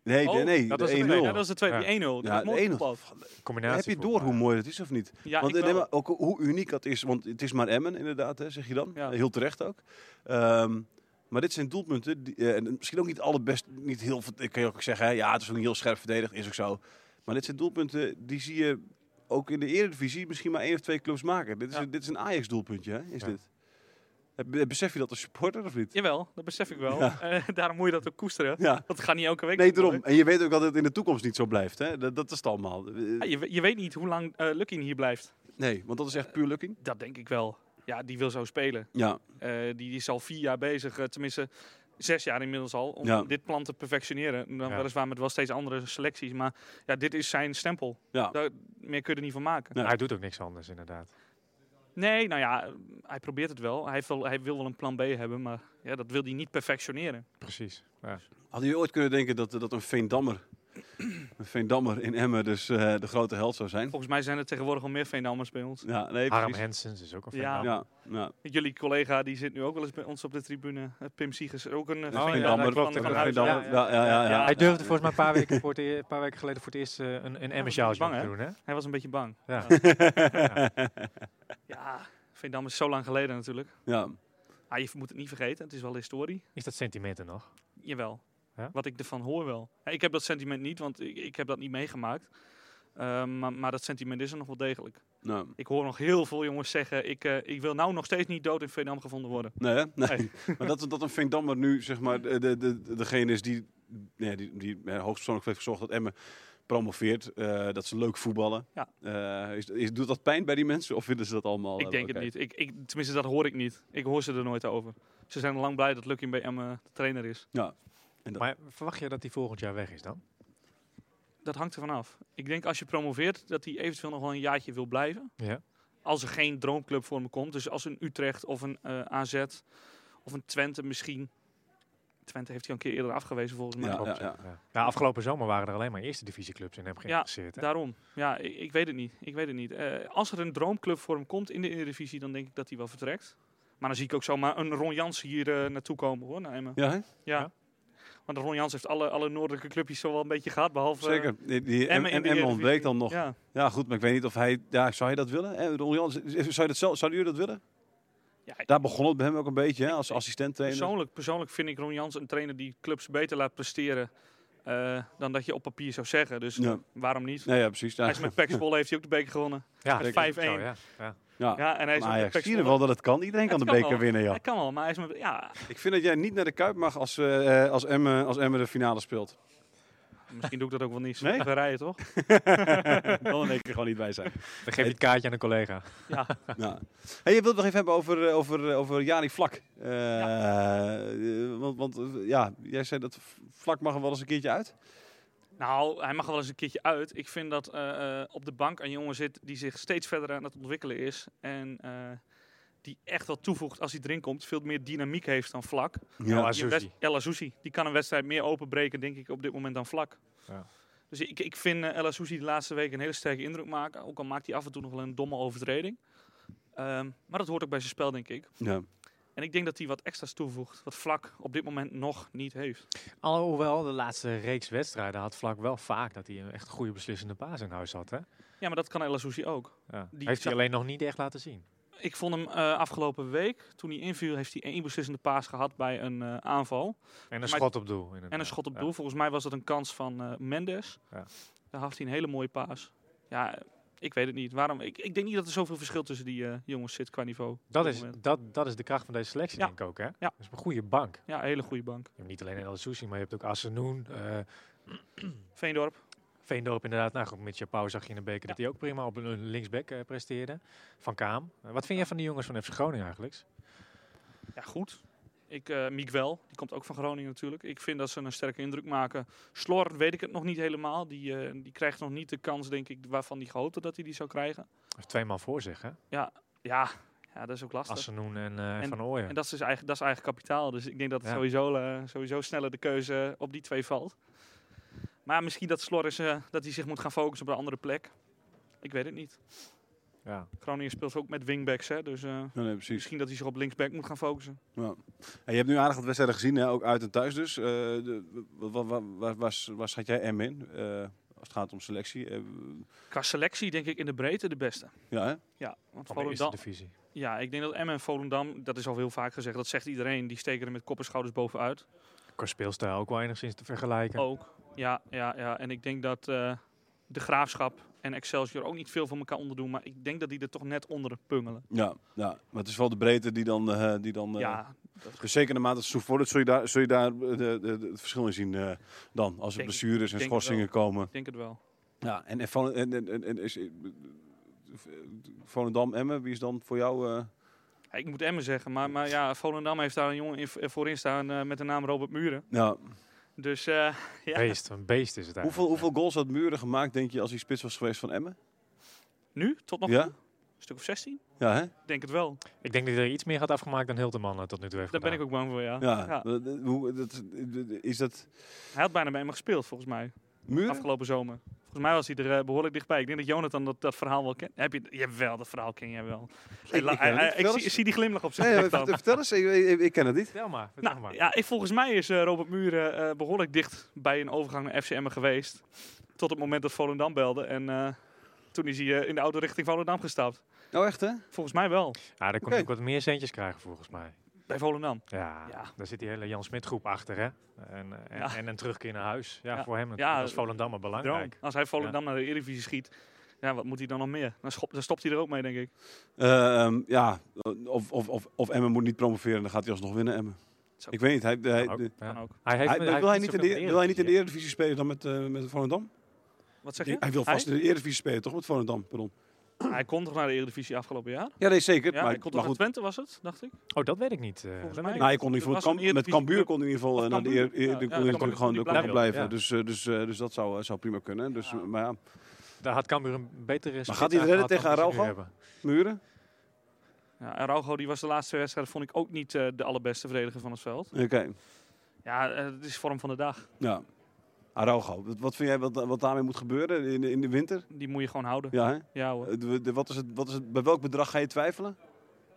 S2: Nee,
S3: Oh,
S2: nee, nee,
S4: dat
S2: de 1-0.
S4: was het-
S3: Nee, dat was de tweede.
S4: Ja.
S3: Die 1-0. Dat
S2: Ja,
S3: was mooi
S2: de 1-0.
S3: voetbal.
S4: Combinatie
S2: Heb je
S4: voetbal,
S2: door hoe
S4: ja.
S2: mooi dat is of niet?
S3: Ja,
S2: Want
S3: ik
S2: eh, nee,
S3: wel.
S2: maar ook hoe uniek dat is, want het is maar Emmen inderdaad, hè, zeg je dan.
S3: Ja.
S2: Heel terecht ook. Ehm, maar dit zijn doelpunten, die, eh, en misschien ook niet alle best, niet heel, verd- ik kan je ook zeggen, hè, ja het is ook niet heel scherp verdedigd, is ook zo. Maar dit zijn doelpunten, die zie je ook in de Eredivisie misschien maar één of twee clubs maken. Dit is,
S3: Ja.
S2: een, dit is een Ajax doelpuntje, hè, is
S4: Ja.
S2: dit. Heb Heb- Besef je dat als supporter of niet?
S3: Jawel, dat besef ik wel.
S2: Ja.
S3: Eh, daarom moet je dat ook koesteren.
S2: Ja.
S3: Dat gaat niet elke week.
S2: Nee, daarom.
S3: natuurlijk.
S2: En je weet ook dat het in de toekomst niet zo blijft. Hè? Dat, dat is het allemaal.
S3: Ja, je, we- je weet niet hoe lang eh Lukin hier blijft.
S2: Nee, want dat is echt puur lukking.
S3: Dat denk ik wel. Ja, die wil zo spelen.
S2: Ja,
S3: Eh, die, die is al vier jaar bezig, eh, tenminste zes jaar inmiddels al, om
S2: Ja.
S3: dit plan te perfectioneren. Dan
S4: Ja.
S3: weliswaar met wel steeds andere selecties, maar ja, dit is zijn stempel.
S2: ja.
S3: Daar, meer kun je er niet van maken.
S2: Ja.
S4: Hij doet ook niks anders, inderdaad.
S3: Nee, nou ja, hij probeert het wel. Hij, heeft wel, hij wil wel een plan B hebben, maar ja, dat wil hij niet perfectioneren.
S4: Precies. Ja.
S2: Hadden jullie ooit kunnen denken dat, dat een Veendammer, een Veendammer in Emmen dus eh, de grote held zou zijn?
S3: Volgens mij zijn er tegenwoordig al meer Veendammers bij ons.
S2: Ja, nee,
S4: Harm
S2: precies.
S4: Hensens is ook een fan.
S3: Ja.
S2: Ja, ja.
S3: Jullie collega die zit nu ook wel eens bij ons op de tribune. eh, Pim Siegers, ook een
S2: Nou,
S3: eh,
S4: ja,
S3: Veendammer
S4: dat klopt,
S3: van,
S4: dat
S3: van huis.
S4: klopt.
S2: Veendammer,
S3: Ja,
S2: ja, ja, ja, ja.
S4: Hij durfde volgens mij een paar weken, voor het eer- een paar weken geleden voor het eerst eh, een, een
S3: was
S4: Emmen-sjaaltje
S3: bang,
S4: op te
S3: hè?
S4: doen, hè?
S3: Hij was een beetje bang.
S4: Ja.
S3: Ja, Veendam is zo lang geleden natuurlijk.
S2: Ja.
S3: Ah, je moet het niet vergeten, het is wel historie.
S4: Is dat sentimenten nog?
S3: Jawel.
S4: Ja?
S3: Wat ik ervan hoor wel. Ja, ik heb dat sentiment niet, want ik, ik heb dat niet meegemaakt. Eh, maar, maar dat sentiment is er nog wel degelijk.
S2: Nou,
S3: Ik hoor nog heel veel jongens zeggen, ik, eh, ik wil nou nog steeds niet dood in Veendam gevonden worden.
S2: nee, hè? nee.
S3: Nee.
S2: maar dat, dat een Veendammer nu, zeg maar, de, de, de- degene is die, nee, die, die eh, hoogstpersoonlijk heeft gezorgd dat Emmen promoveert, eh, dat ze leuk voetballen.
S3: Ja.
S2: Eh, is, is, doet dat pijn bij die mensen of vinden ze dat allemaal?
S3: ik
S2: eh,
S3: denk
S2: oké?
S3: het niet. Ik, ik, tenminste, dat hoor ik niet. Ik hoor ze er nooit over. Ze zijn al lang blij dat Lucky bij Emmen de trainer is.
S2: Dat-
S4: Maar verwacht je dat hij volgend jaar weg is dan?
S3: Dat hangt er vanaf. Ik denk als je promoveert, dat hij eventueel nog wel een jaartje wil blijven.
S4: Ja.
S3: als er geen droomclub voor me komt. Dus als een Utrecht of een eh, AZ of een Twente misschien. Twente heeft hij al een keer eerder afgewezen volgens mij.
S2: Ja,
S4: Klopt,
S2: ja,
S4: ja. Ja, afgelopen zomer waren er alleen maar eerste divisieclubs in hem geïnteresseerd. hè?
S3: Daarom. Ja, ik, ik weet het niet. Ik weet het niet. Eh, als er een droomclub voor hem komt in de Eredivisie, dan denk ik dat hij wel vertrekt. Maar dan zie ik ook zomaar een Ron Jans hier eh, naartoe komen hoor, naar Emmen.
S2: Ja, hè?
S3: Ja.
S4: Ja.
S3: Want Ron Jans heeft alle, alle noordelijke clubjes zo wel een beetje gehad, behalve... eh,
S2: zeker. Die, die, Emmen
S3: Emmen in de
S2: Emmen ontbreekt
S3: Eredivisie.
S2: dan nog. Ja.
S3: Ja.
S2: goed, maar ik weet niet of hij, ja, zou hij dat willen? Eh, Ron Jans, zou je dat zelf, zouden jullie dat willen?
S3: Ja,
S2: Daar begon het bij hem ook een beetje, hè, als
S3: ik-
S2: assistent trainer.
S3: Persoonlijk, persoonlijk vind ik Ron Jans een trainer die clubs beter laat presteren eh, dan dat je op papier zou zeggen. Dus
S2: Ja.
S3: waarom niet?
S2: Nee, ja, precies. Ja,
S3: Hij is met Pax heeft hij ook de beker gewonnen.
S4: Ja,
S3: Met
S4: zeker.
S3: 5-1.
S4: Zo, Ja, ja.
S2: ja.
S3: Ja, en hij is
S2: Maar
S3: met
S2: Ajax,
S3: Pek
S2: zie je
S3: Zwolle-
S2: wel dat het kan. Iedereen kan
S3: Het
S2: de
S3: kan
S2: beker
S3: wel.
S2: winnen, joh.
S3: Hij kan wel, maar hij is met... Ja,
S2: Ik vind dat jij niet naar de Kuip mag als, eh, eh, als, Emmen, als Emmen de finale speelt.
S3: misschien doe ik dat ook wel niet.
S2: Nee?
S3: We rijden toch?
S2: Dan in één keer gewoon niet bij zijn.
S4: Dan geef je het kaartje aan een collega.
S2: Ja. Hey, je wilt het nog even hebben over, eh, over, eh, over Jari Vlak. Eh, eh, want want eh, ja, jij zei dat V- Vlak mag er wel eens een keertje uit.
S3: Nou, hij mag wel eens een keertje uit. Ik vind dat eh, eh, op de bank een jongen zit die zich steeds verder aan het ontwikkelen is. En eh, die echt wat toevoegt als hij erin komt. Veel meer dynamiek heeft dan vlak.
S4: Ja,
S3: Die
S4: Azuzi.
S3: wedst- El Azouzi, die kan een wedstrijd meer openbreken, denk ik, op dit moment dan vlak.
S4: Ja.
S3: Dus ik, ik vind eh El Azouzi de laatste weken een hele sterke indruk maken. Ook al maakt hij af en toe nog wel een domme overtreding. Ehm, maar dat hoort ook bij zijn spel, denk ik.
S2: Ja.
S3: En ik denk dat hij wat extra's toevoegt, wat vlak op dit moment nog niet heeft.
S4: Alhoewel, de laatste reeks wedstrijden had Vlak wel vaak dat hij een echt goede beslissende paas in huis had. Hè?
S3: Ja, maar dat kan El Azouzi ook.
S4: Ja.
S3: Die
S4: Heeft
S3: zag-
S4: hij alleen nog niet echt laten zien.
S3: Ik vond hem eh, afgelopen week, toen hij inviel, heeft hij één beslissende paas gehad bij een eh, aanval.
S4: En een schot op doel. inderdaad.
S3: En een schot op
S4: Ja.
S3: doel. Volgens mij was dat een kans van eh, Mendes.
S4: Ja.
S3: Daar had hij een hele mooie paas. Ja, eh, ik weet het niet. Waarom? Ik, ik denk niet dat er zoveel verschil tussen die eh, jongens zit qua niveau. op
S4: Dat
S3: dit
S4: is,
S3: moment.
S4: dat, dat is de kracht van deze selectie,
S3: Ja.
S4: denk ik ook. Hè?
S3: Ja.
S4: Dat is een goede bank.
S3: Ja, een hele goede bank.
S4: Je hebt niet alleen El Sushi, maar je hebt ook Assenoen, eh
S3: Veendorp.
S4: Veendorp inderdaad. Nou goed, Mitja Pauw zag je in de beker
S3: Ja.
S4: dat hij ook prima op een linksback eh, presteerde. Van Kaam. Eh, wat vind jij van die jongens van FC Groningen eigenlijk?
S3: Ja, goed. Ik, eh Miek wel. Die komt ook van Groningen natuurlijk. Ik vind dat ze een sterke indruk maken. Slor weet ik het nog niet helemaal. Die, eh, die krijgt nog niet de kans, denk ik, waarvan die gehoopt had dat hij die zou krijgen.
S4: Hij heeft twee man voor zich, hè?
S3: Ja, ja dat is ook lastig.
S4: Assenoen en, eh, en Van Ooyen.
S3: En dat is, dus eigen, dat is eigen kapitaal. Dus ik denk dat het
S4: Ja.
S3: sowieso, eh, sowieso sneller de keuze op die twee valt. Maar misschien dat Slor is, eh, dat hij zich moet gaan focussen op een andere plek. Ik weet het niet.
S4: Ja.
S3: Groningen speelt ook met wingbacks, hè, dus eh,
S2: Ja, nee, precies.
S3: misschien dat hij zich op linksback moet gaan focussen.
S2: Ja. En je hebt nu aardig wat wedstrijden gezien, hè? ook uit en thuis dus. Eh, de, waar, waar, waar, waar schat jij M in eh, als het gaat om selectie? Eh,
S3: Qua selectie denk ik in de breedte de beste.
S2: ja, hè?
S3: Ja, want
S4: Van de eerste
S3: Volendam,
S4: divisie.
S3: ja, ik denk dat Emmen en Volendam, dat is al heel vaak gezegd, dat zegt iedereen, die steken er met kop en schouders bovenuit.
S4: Qua
S3: Oh,
S4: speelstijl ook wel enigszins te vergelijken.
S3: Ook, ja, ja, ja. En ik denk dat eh, de Graafschap en Excelsior ook niet veel van elkaar onderdoen. Maar ik denk dat die er toch net onder pungelen.
S2: Ja, ja, maar het is wel de breedte die dan... eh, die dan eh,
S3: ja,
S2: Dus zeker naarmate het seizoen voordat zul je daar, zul je daar eh, de, de- de- het verschil in zien eh, dan. Als er
S3: Denk-
S2: blessures en
S3: denk het
S2: schorsingen komen.
S3: ik denk het wel.
S2: Ja, en, en, Vol- en, en, en- en is, eh, Volendam, Emmen, wie is dan voor jou... eh,
S3: Ja, ik moet Emmen zeggen, maar, maar ja, Volendam heeft daar een jongen in, voorin staan eh, met de naam Robert Muren.
S2: nou,
S3: Dus eh, ja.
S4: Beest, een beest is het eigenlijk.
S2: hoeveel, hoeveel goals had Muren gemaakt, denk je, als hij spits was geweest van Emmen?
S3: nu, tot nog
S2: Ja?
S3: toe, een stuk of 16?
S2: Ja, hè?
S3: Ik denk het wel.
S4: Ik denk dat hij er iets meer gaat afgemaakt dan Hilterman eh, tot nu toe heeft
S3: Daar ben ik
S4: gedaan.
S3: ook bang voor, ja.
S2: Ja.
S3: Ja.
S2: Dat, dat- hoe, dat, is dat...
S3: Hij had bijna bij me gespeeld, volgens mij,
S2: Muren?
S3: afgelopen zomer. Volgens mij was hij er eh, behoorlijk dichtbij. Ik denk dat Jonathan dat, dat verhaal wel kent. Heb je, jawel, dat verhaal ken jij wel. Hij la-
S2: ik
S3: hij-
S2: ken het
S3: hij-
S2: niet.
S3: ik
S2: Vertel
S3: zie,
S2: eens.
S3: zie die glimlach op zijn
S2: Nee,
S3: gezicht dan.
S2: eh, vertel eens, ik, ik- ik ken het niet.
S4: Vertel maar, vertel
S3: Nou,
S4: maar.
S3: ja, ik, volgens mij is eh, Robert Muren eh, behoorlijk dicht bij een overgang naar FCM geweest. Tot het moment dat Volendam belde. En eh, toen is hij eh, in de auto richting Volendam gestapt.
S2: Oh, echt, hè?
S3: Volgens mij wel.
S4: Ja, daar kon
S2: Oké.
S4: ik wat meer centjes krijgen volgens mij.
S3: Bij Volendam.
S4: Ja,
S3: Ja.
S4: daar zit die hele Jan Smit groep achter, hè? En, eh, en,
S3: Ja.
S4: en een terugkeer naar huis. Ja,
S3: Ja.
S4: voor hem
S3: Ja,
S4: ja, dat is Volendammer belangrijk.
S3: Als hij Volendam naar de Eredivisie schiet. Ja, wat moet hij dan nog meer? Dan, schop- dan stopt hij er ook mee, denk ik.
S2: Ehm, ja, of, of, of, of Emmen moet niet promoveren, dan gaat hij alsnog winnen, Emmen.
S3: Zo.
S2: Ik weet niet, hij, Nou, hij,
S4: Kan ook,
S2: hij-
S4: ja.
S3: Kan ook.
S4: Hij heeft,
S2: wil, hij niet in
S4: zoveel
S2: de, E- wil hij niet in de
S4: Eredivisie,
S2: Eredivisie spelen dan met, eh met Volendam?
S3: Wat zeg je?
S2: Nee, hij wil vast
S3: Hij,
S2: in de Eredivisie spelen, toch? Met Volendam, pardon.
S3: hij kon toch naar de Eredivisie afgelopen jaar?
S2: Ja, nee, zeker.
S3: Ja,
S2: maar,
S3: hij kon
S2: maar
S3: toch naar
S2: goed,
S3: Twente, was het, dacht ik?
S4: hè? Oh, dat weet ik niet. eh,
S3: Volgens
S4: dat
S3: mij
S4: weet ik
S2: nou, hij kon in ieder
S3: Het
S2: geval
S3: was
S2: kamp-
S3: een
S2: met Cambuur
S3: Eredivisie-club.
S2: kon hij in ieder geval eh, naar de
S3: Cambuur.
S2: Eredivisie
S3: Ja, ja,
S2: kon hij
S3: kon
S2: natuurlijk
S3: hij
S2: gewoon
S3: niet
S2: ook blijven.
S4: blijven, ja.
S2: Dus, eh, dus, eh, dus dat zou, eh, zou prima kunnen. Dus, eh, Maar ja,
S4: niet. Daar had Cambuur een betere spits
S2: gaat hij het redden
S4: aangehad dan
S2: tegen
S4: dat ze nu
S2: Araujo?
S4: hebben.
S2: muren?
S3: Ja, Araujo, die was de laatste wedstrijd, vond ik ook niet eh, de allerbeste verdediger van het veld.
S2: Oké,
S3: Ja, eh, het is vorm van de dag.
S2: ja. Araujo, wat, wat vind jij wat, wat daarmee moet gebeuren in, de- in de winter?
S3: Die moet je gewoon houden.
S2: Ja, hè?
S3: Ja hoor.
S2: Eh, de- de- wat is het, wat is het, bij welk bedrag ga je twijfelen?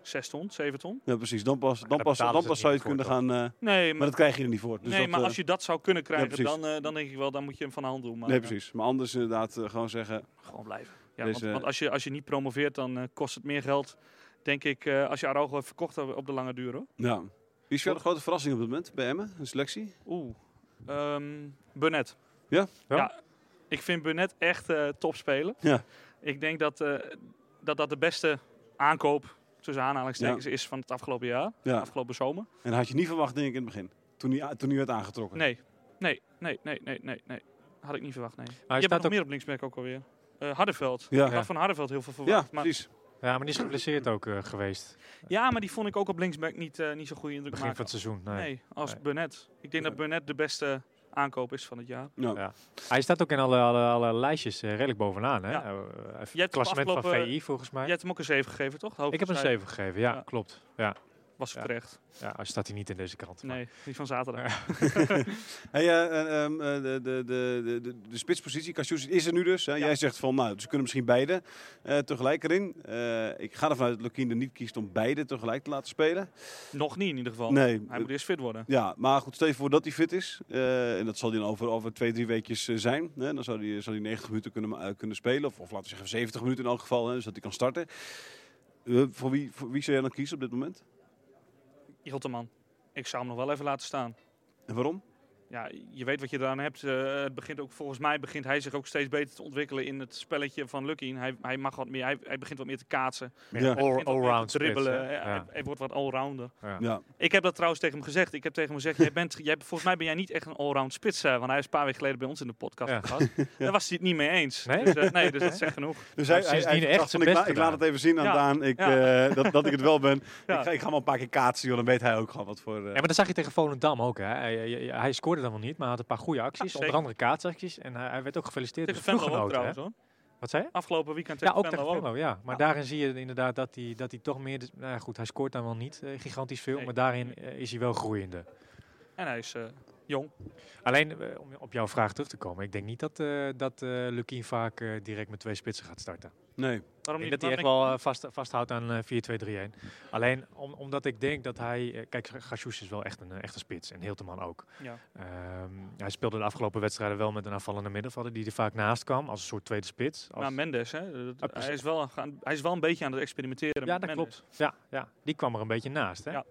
S3: Zes ton, zeven ton.
S2: Ja, precies. Dan pas, dan
S4: daar
S2: pas,
S4: betalen
S2: dan
S4: ze
S2: pas
S4: het
S2: zou je
S4: niet
S2: het kunnen
S4: voor,
S2: gaan... eh,
S3: Nee, maar,
S2: maar dat krijg je er niet voor. Dus
S3: nee,
S2: dat,
S3: maar
S2: eh,
S3: als je dat zou kunnen krijgen,
S2: precies.
S3: dan, eh, dan denk ik wel, dan moet je hem van de hand doen. Maar
S2: Nee,
S3: eh,
S2: precies. Maar anders inderdaad eh, gewoon zeggen...
S3: gewoon blijven. Ja,
S2: Dus,
S3: want
S2: eh,
S3: want als, je, als je niet promoveert, dan eh, kost het meer geld, denk ik, eh, als je Araujo hebt verkocht op op de lange duur. Hoor.
S2: Ja. Wie is voor jou de grote verrassing op dit moment bij Emmen? Een selectie?
S3: Oeh. Ehm, Burnett.
S2: Ja?
S4: Ja.
S3: ja? Ik vind Burnett echt eh topspeler.
S2: Ja.
S3: Ik denk dat, eh, dat dat de beste aankoop, tussen aanhalingstekens, is van het afgelopen jaar.
S2: Ja.
S3: Afgelopen zomer.
S2: En had je niet verwacht, denk ik, in het begin. Toen hij, a- toen hij werd aangetrokken.
S3: Nee. Nee, nee, nee, nee, nee, nee. Had ik niet verwacht, nee.
S4: Hij
S3: je hebt
S4: staat
S3: nog
S4: ook,
S3: meer op linksback ook alweer. Eh Hardenveld.
S2: Ja.
S3: Ik had van Hardenveld heel veel
S2: Ja,
S3: verwacht. maar,
S2: precies.
S4: ja, maar die is geblesseerd ook eh, geweest.
S3: ja, maar die vond ik ook op linksback niet, eh, niet zo'n goede indruk
S4: Begin van
S3: maken.
S4: het seizoen. Nee.
S3: nee. als
S4: Nee.
S3: Burnett. Ik denk dat Burnett de beste aankoop is van het jaar.
S2: Nou,
S4: Ja. Hij staat ook in alle, alle, alle lijstjes eh, redelijk bovenaan. Hè?
S3: Ja.
S4: Eh, eh,
S3: hem
S4: klassement van
S3: afgelopen-
S4: VI volgens mij.
S3: Jij hebt hem ook een 7 gegeven, toch?
S4: ik heb een 7 gegeven, ja,
S3: Ja.
S4: klopt. Ja.
S3: Was
S4: Ja.
S3: terecht.
S4: ja, hij staat hij niet in deze krant. maar-
S3: Nee, die van zaterdag.
S2: hey, eh, eh, ehm, eh, de, de, de, de, de, de spitspositie, Kastjoes, is er nu dus. Hè? Jij zegt van, nou, ze kunnen misschien beide eh, tegelijk erin. Eh, ik ga ervan uit dat Lukien er niet kiest om beide tegelijk te laten spelen.
S3: Nog niet in ieder geval.
S2: Nee.
S3: Hij moet eerst fit worden.
S2: Ja, maar goed, stel je voor dat hij fit is. eh, en dat zal hij dan over, over twee, drie weekjes eh, zijn. Hè? Dan zou hij, zal hij 90 minuten kunnen, ma- eh, kunnen spelen. Of, of laten we zeggen 70 minuten in elk geval. Hè? Dus dat hij kan starten. Eh, voor, wie, voor wie zou jij dan kiezen op dit moment?
S3: Hilterman. Ik zou hem nog wel even laten staan.
S2: En waarom?
S3: Ja, je weet wat je eraan hebt. Eh, het begint ook, volgens mij begint hij zich ook steeds beter te ontwikkelen in het spelletje van Lucky. Hij, hij mag wat meer, hij, hij begint wat meer te kaatsen.
S2: Ja.
S3: Hij
S4: All-
S3: begint wat meer te
S4: allround spits,
S3: dribbelen.
S4: hè?
S3: Hij- hij-
S4: Ja.
S3: hij wordt wat allrounder.
S2: Ja.
S3: Ik heb dat trouwens tegen hem gezegd. Ik heb tegen hem gezegd, jij bent, jij, volgens mij ben jij niet echt een allround spits. eh, want hij is een paar weken geleden bij ons in de podcast
S4: Ja.
S3: gehad. Daar was hij het niet mee eens.
S4: Nee?
S3: Dus, eh, nee, dus dat zegt genoeg.
S2: Dus
S4: Hij heeft sindsdien echt
S2: dacht van,
S4: zijn
S2: ik,
S4: best
S2: la- ik laat het even zien aan
S3: Ja.
S2: Daan ik,
S3: Ja.
S2: eh, dat, dat ik het wel ben.
S3: Ja.
S2: Ik, ga, ik ga hem al een paar keer kaatsen, joh, dan weet hij ook gewoon wat voor... eh,
S4: Ja, maar dat zag je tegen Volendam ook. Hè. Hij, hij, hij scoorde dan wel niet, maar hij had een paar goede acties.
S3: Ja,
S4: onder
S3: zeker.
S4: andere kaatsacties. En hij, hij werd ook gefeliciteerd
S3: Tegen
S4: door
S3: Venlo
S4: zijn
S3: ook
S4: ploeggenoten.
S3: trouwens
S4: hè.
S3: hoor.
S4: Wat zei je?
S3: Afgelopen weekend
S4: Ja,
S3: tegen
S4: ook tegen
S3: Venlo ook.
S4: Venlo, ja. Maar
S3: Ja.
S4: daarin zie je inderdaad dat hij, dat hij toch meer... de- Nou ja, goed, hij scoort dan wel niet eh, gigantisch veel,
S3: Nee.
S4: maar daarin eh, is hij wel groeiende.
S3: En hij is eh, jong.
S4: Alleen, eh, om op jouw vraag terug te komen. Ik denk niet dat, eh dat eh, Lukien vaak eh, direct met twee spitsen gaat starten.
S2: nee.
S3: Waarom
S4: Ik
S3: niet?
S4: denk dat hij echt
S3: Waarom
S4: wel eh, vast, vasthoudt aan eh, 4-2-3-1. Alleen om- omdat ik denk dat hij... eh, kijk, Gachous is wel echt een, eh, echte spits. En Hilteman ook.
S3: niet? Ja.
S4: Ehm, hij speelde de afgelopen wedstrijden wel met een aanvallende middenvelder... die er vaak naast kwam, als een soort tweede spits. Als-
S3: Maar Mendes, hè, dat-
S4: Ah, precies.
S3: hij, is wel gaan, hij is wel een beetje aan het experimenteren
S4: Ja,
S3: met
S4: dat
S3: Mendes.
S4: klopt. Ja, ja, die kwam er een beetje naast. Hè?
S3: Ja.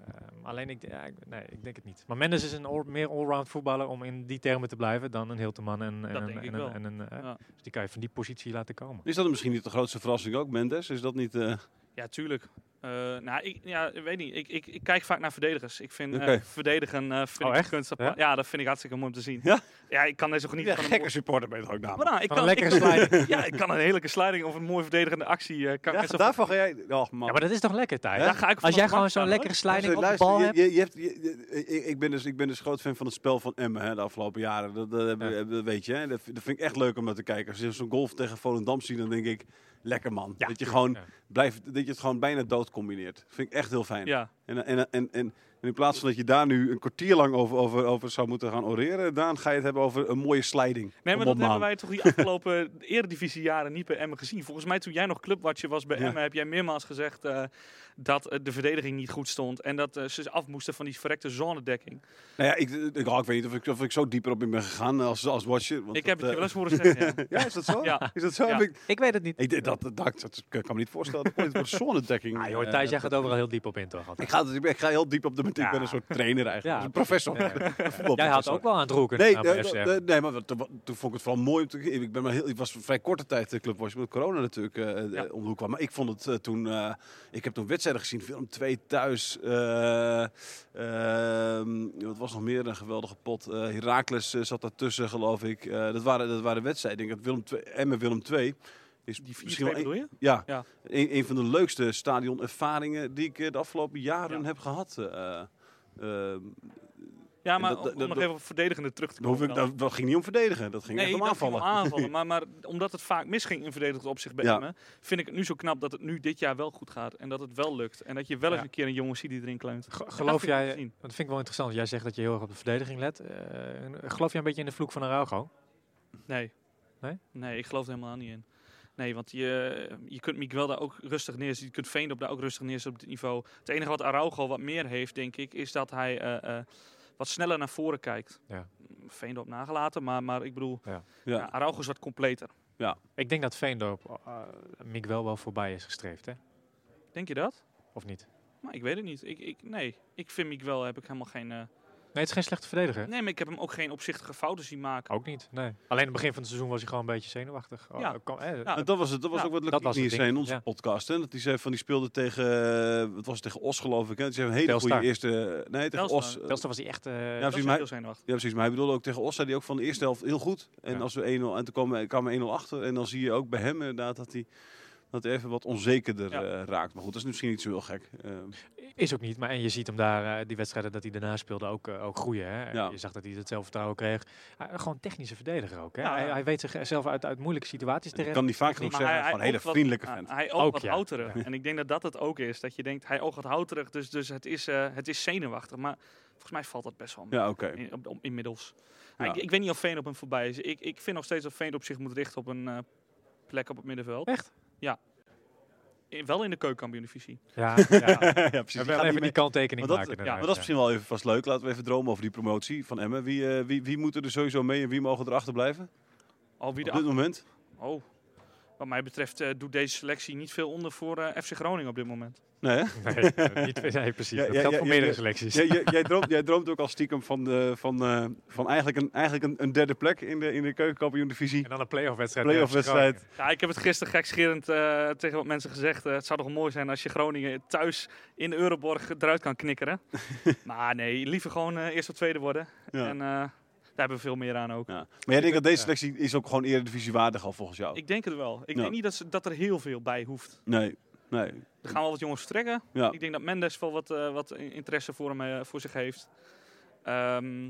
S4: Ehm, alleen ik, ja, ik- nee, ik denk het niet. Maar Mendes is een all- meer allround voetballer om in die termen te blijven dan een Hilteman en, en,
S3: Dat
S4: een,
S3: denk ik
S4: en, een,
S3: wel.
S4: en een, eh,
S3: Ja.
S4: Dus die kan je van die positie laten komen.
S2: Is dat misschien niet de grootste verrassing ook, Mendes? Is dat niet... eh,
S3: Ja, tuurlijk. Eh, nou, ik, ja, ik weet niet. Ik, ik, ik kijk vaak naar verdedigers. Ik vind eh,
S2: Oké.
S3: verdedigen eh vind
S4: Oh,
S3: ik
S4: echt?
S3: kunst.
S4: Ja?
S3: Ja? dat vind ik hartstikke mooi om te zien.
S2: Ja?
S3: ja ik kan er zo genieten
S2: ja,
S3: van een
S2: gekke supporter ben je toch ook
S3: Maar
S2: namelijk?
S3: nou, ik
S4: Van
S3: kan,
S4: een lekkere
S3: ik kan- ja, ik kan een heerlijke sliding of een mooi verdedigende actie. eh, kan ik
S2: Ja,
S3: best wel-
S2: daarvan ga jij... Och man.
S4: Ja, maar dat is toch lekker, Thijs?
S3: Daar ga ik
S4: Als
S3: vanaf
S4: jij gewoon
S3: wakker
S4: zo'n
S3: aan,
S4: lekkere
S3: hoor.
S4: sliding op de
S2: Luister,
S4: bal
S2: je-
S4: hebt.
S2: je- je hebt- je- je- ik- ik, ben dus, ik ben dus groot fan van het spel van Emmen hè, de afgelopen jaren. Dat, dat, hebben-
S4: Ja.
S2: dat weet je. Hè. Dat, dat vind ik echt leuk om naar te kijken. Als je zo'n golf tegen Volendam ziet, dan denk ik... Lekker man.
S4: Ja,
S2: dat, je
S4: tuurlijk,
S2: gewoon
S4: ja.
S2: blijft, dat je het gewoon bijna dood combineert. vind ik echt heel fijn.
S3: Ja,
S2: En, en, en, en, en in plaats van dat je daar nu een kwartier lang over, over, over zou moeten gaan oreren... Daan, ga je het hebben over een mooie sliding.
S3: nee,
S2: Kom
S3: maar
S2: op,
S3: dat hebben
S2: man.
S3: wij toch die afgelopen eredivisie jaren niet bij Emmen gezien. Volgens mij toen jij nog clubwatcher was bij
S2: Ja.
S3: Emmen, heb jij meermaals gezegd eh, dat eh, de verdediging niet goed stond. En dat eh, ze af moesten van die verrekte zonedekking.
S2: Nou ja, ik, ik, oh, ik weet niet of ik, of ik zo dieper op in ben gegaan als, als watcher. Want
S3: Ik heb het
S2: dat,
S3: je wel
S2: eh,
S3: eens horen zeggen. ja.
S2: Ja, is dat zo?
S3: Ja.
S2: Is dat zo?
S3: Ja.
S2: Heb ik,
S4: Ik weet het niet.
S2: ik, dat, dat, dat, dat kan ik me niet voorstellen. Ooit een zonedekking.
S4: Ah, joh,
S2: eh,
S4: Thijs, jij
S2: dat-
S4: gaat overal heel diep op in, toch?
S2: Ik ga, het- ik ga heel diep op de met. Ik ben een soort trainer eigenlijk.
S4: Ja.
S2: Een professor.
S4: Ja.
S2: Een
S4: Jij had
S2: voetbalprofessor.
S4: ook wel aan het roken.
S2: Nee,
S4: aan
S2: nee,
S4: bij
S2: dat-
S4: FCM.
S2: dat- nee, maar wat- wat- toen vond ik het vooral mooi. om te- Ik, ben maar heel, ik was voor vrij korte tijd de club was met corona natuurlijk eh eh, om de hoek kwam. Maar ik vond het eh, toen. eh, ik heb toen wedstrijden gezien. Film 2 thuis. eh, ehm, wat was nog meer een geweldige pot. Eh Herakles eh, zat daartussen, geloof ik. Eh, dat, waren, dat waren wedstrijden. Ik denk dat Willem 2 en met Willem 2 is
S3: Die 4-2
S2: misschien wel een-
S3: bedoel je?
S2: ja, E-,
S3: Ja.
S2: Een, een van de leukste stadionervaringen die ik eh, de afgelopen jaren
S3: Ja.
S2: heb gehad. eh, eh, ehm,
S3: Ja, maar
S2: dat- dat-
S3: om, om nog
S2: dat-
S3: even op verdedigende terug te
S2: daar hoef
S3: komen.
S2: ik,
S3: dan.
S2: dat, dat ging niet om verdedigen, dat ging
S3: Nee,
S2: echt om
S3: dat ging
S2: aanvallen.
S3: om aanvallen. maar, maar omdat het vaak misging in verdedigend opzicht bij
S2: Ja.
S3: Emmen, vind ik het nu zo knap dat het nu dit jaar wel goed gaat. En dat het wel lukt. En dat je wel eens
S4: Ja.
S3: een keer een jongen ziet die erin kleunt.
S4: Ge-
S3: dat
S4: Geloof
S3: vind ik
S4: jij,
S3: te
S4: want
S3: zien.
S4: dat vind ik wel interessant, jij zegt dat je heel erg op de verdediging let. Eh, geloof jij een beetje in de vloek van Araujo?
S3: Nee.
S4: Nee?
S3: Nee, ik geloof er helemaal niet in. Nee, want je, je kunt Miguel daar ook rustig neerzetten. Je kunt Veendorp daar ook rustig neerzetten op dit niveau. Het enige wat Araujo wat meer heeft, denk ik, is dat hij eh, eh, wat sneller naar voren kijkt.
S4: Ja.
S3: Veendorp nagelaten, maar, maar ik bedoel,
S4: Ja.
S3: ja.
S2: Ja.
S3: Araujo is wat completer.
S4: Ik denk dat Veendorp eh Mick wel wel voorbij is gestreefd, hè?
S3: Denk je dat?
S4: Of niet?
S3: Maar ik weet het niet. Ik, ik, nee, ik vind Miguel heb ik helemaal geen... eh,
S4: Nee, het is geen slechte verdediger.
S3: Nee, maar ik heb hem ook geen opzichtige fouten zien maken.
S4: Ook niet, nee. Alleen het begin van het seizoen was hij gewoon een beetje zenuwachtig. Oh,
S3: Ja.
S4: kan- eh,
S3: Ja.
S2: En dat was het. Dat was
S3: Ja,
S2: ook wat
S4: dat
S2: Lucky
S4: was het
S2: hier
S4: ding,
S2: zei in onze
S4: ja.
S2: podcast. Hè? Dat hij zei van die speelde tegen, eh, wat was het, tegen Os geloof ik. Hè? Die zei een hele
S4: Telstar.
S2: goede eerste. Nee, tegen
S3: Telstar.
S2: Os. eh,
S4: Telstar was hij echt... eh,
S2: Ja,
S3: Dat is
S2: precies, maar-
S3: heel zenuwachtig.
S2: ja, precies. Maar hij bedoelde ook tegen Os zei hij ook van de eerste helft heel goed. En
S4: Ja.
S2: als we 1-0 en toen kwam, kwam er 1-0 achter. En dan zie je ook bij hem inderdaad dat hij dat hij even wat onzekerder
S3: Ja.
S2: eh, raakt. Maar goed, dat is misschien niet zo heel gek. Eh,
S4: Is ook niet, maar en je ziet hem daar, eh, die wedstrijden dat hij daarna speelde, ook, eh, ook groeien. Hè?
S2: Ja.
S4: Je zag dat hij het zelfvertrouwen kreeg. Hij- eh, gewoon technische verdediger ook. Hè?
S3: Ja,
S4: hij,
S3: Nou, ja.
S4: hij weet zichzelf uit, uit moeilijke situaties
S2: ik
S4: te redden.
S2: kan niet vaak genoeg
S3: Maar
S2: zeggen,
S3: hij-
S2: van een
S3: hij
S2: hele
S3: oogt wat-
S2: vriendelijke
S3: hij-
S2: vent.
S3: Hij ook
S4: Ook,
S3: wat
S4: ja.
S3: ouderig.
S4: Ja.
S3: En ik denk dat dat het ook is. Dat je denkt, hij oogt wat houterig, dus, dus het, is, eh, het is zenuwachtig. Maar volgens mij valt dat best wel mee.
S2: Ja, oké.
S3: In- op- op- inmiddels.
S2: Ja.
S3: Ik, ik weet niet of Veen op hem voorbij is. Ik, ik vind nog steeds dat Veen op zich moet richten op een eh, plek op het middenveld.
S4: Echt?
S3: Ja. In- wel in de keukenkampioen-divisie.
S4: Ja, ja.
S2: ja, precies. Dus Die gaat
S4: En wel
S2: niet
S4: even
S2: mee.
S4: die kanttekening
S2: Maar dat-
S4: maken.
S3: ja,
S2: Maar dat is misschien wel even vast leuk. Laten we even dromen over die promotie van Emmen. Wie, eh, wie, wie moet er sowieso mee en wie mogen erachter blijven?
S3: Al wie
S2: Op
S3: de
S2: dit
S3: acht-
S2: moment?
S3: Oh. Wat mij betreft eh, doet deze selectie niet veel onder voor eh, FC Groningen op dit moment.
S2: Nee, hè?
S4: Nee, eh, niet, nee, precies.
S2: Ja,
S4: dat
S2: ja,
S4: geldt
S2: ja,
S4: voor
S2: ja,
S4: meerdere
S2: ja.
S4: selecties.
S2: jij, jij, jij, droomt, jij droomt ook al stiekem van, eh, van, eh, van eigenlijk, een, eigenlijk een, een derde plek in de, in de keukenkampioen-divisie.
S4: En dan een playoff wedstrijd.
S2: Playoff wedstrijd.
S3: Ja, ik heb het gisteren gekscherend eh, tegen wat mensen gezegd. eh, het zou toch wel mooi zijn als je Groningen thuis in Euroborg eruit kan knikkeren. maar nee, liever gewoon eh, eerst of tweede worden.
S2: Ja.
S3: En eh, daar hebben we veel meer aan ook.
S2: Ja. Maar jij denkt dat deze
S4: Ja.
S2: selectie is ook gewoon eredivisie waardig al volgens jou?
S3: Ik denk het wel. Ik
S2: Ja.
S3: denk niet dat, ze, dat er heel veel bij hoeft.
S2: Nee, nee.
S3: Er gaan wel wat jongens vertrekken.
S2: Ja.
S3: Ik denk dat Mendes wel wat, eh, wat in- interesse voor, hem, eh, voor zich heeft. Ehm,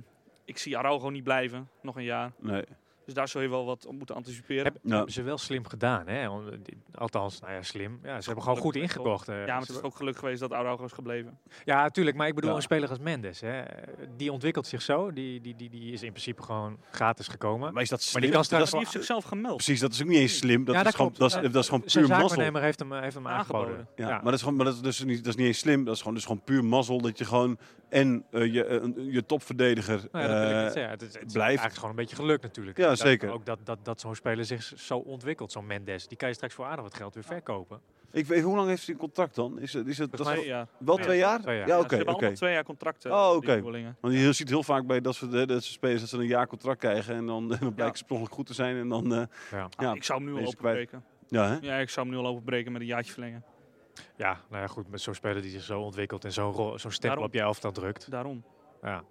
S3: ik zie Araujo niet blijven, nog een jaar.
S2: nee.
S3: Dus daar zul je wel wat op moeten anticiperen.
S4: Heb,
S2: Ja.
S4: hebben ze wel slim gedaan, hè? Want die- Althans, nou ja, slim. Ja, ze hebben gewoon goed ingekocht. eh.
S3: ja, maar het is ook geluk geweest dat Araujo is gebleven.
S4: Ja, natuurlijk. Maar ik bedoel,
S2: Ja.
S4: een speler als Mendes, hè, die ontwikkelt zich zo. Die, die, die, die is in principe gewoon gratis gekomen.
S2: Maar is dat slim?
S4: Maar die kan
S3: Maar
S4: straks
S3: die
S4: wel...
S3: heeft zichzelf gemeld.
S2: Precies, dat is ook niet eens slim. Dat,
S4: Ja, dat
S2: is, gewoon,
S4: klopt.
S2: dat, is,
S4: Ja.
S2: dat is gewoon
S4: Zijn
S2: puur mazzel.
S4: zaakwaarnemer heeft hem, heeft hem aangeboden.
S3: Aangeboden.
S2: Ja, Maar, dat is gewoon, maar dat, is dus niet, dat is niet eens slim. Dat is gewoon, dus gewoon puur mazzel dat je gewoon en eh, je, eh, een- je topverdediger...
S4: Nou ja, dat wil ik
S2: eh,
S4: niet zeggen. Het, is- het is
S2: blijft.
S4: eigenlijk gewoon een beetje geluk natuurlijk.
S2: Ja,
S4: Dat-
S2: zeker.
S4: Ook dat, dat, dat zo'n speler zich zo ontwikkelt, zo'n Mendes. Die kan je straks voor aardig wat geld weer verkopen.
S2: Ik weet, hoe lang heeft hij contract dan? Is, het- is het dat is
S4: mij-
S2: wel-
S3: Twee jaar.
S2: wel
S3: ja,
S2: twee jaar?
S4: twee jaar.
S2: Ja,
S3: Ja,
S2: oké.
S3: ze hebben
S2: oké.
S3: allemaal twee jaar contracten.
S2: Oh,
S3: die
S2: oké.
S3: nieuwelingen.
S2: Want je ziet heel vaak bij dat soort hè, dat soort spelers dat ze een jaar contract krijgen en dan, dan blijkt het sprongelijk goed te zijn. En dan, eh,
S4: Ja.
S2: Ja,
S3: ik zou hem nu al
S2: deze kwijt.
S3: openbreken.
S2: ja, hè?
S3: Ja, ik zou hem nu al openbreken met een jaartje verlengen.
S4: ja, nou ja, goed. Met zo'n speler die zich zo ontwikkelt en zo'n rol- zo'n stempel
S3: Daarom.
S4: op je elftal drukt.
S3: Daarom.
S4: Ja.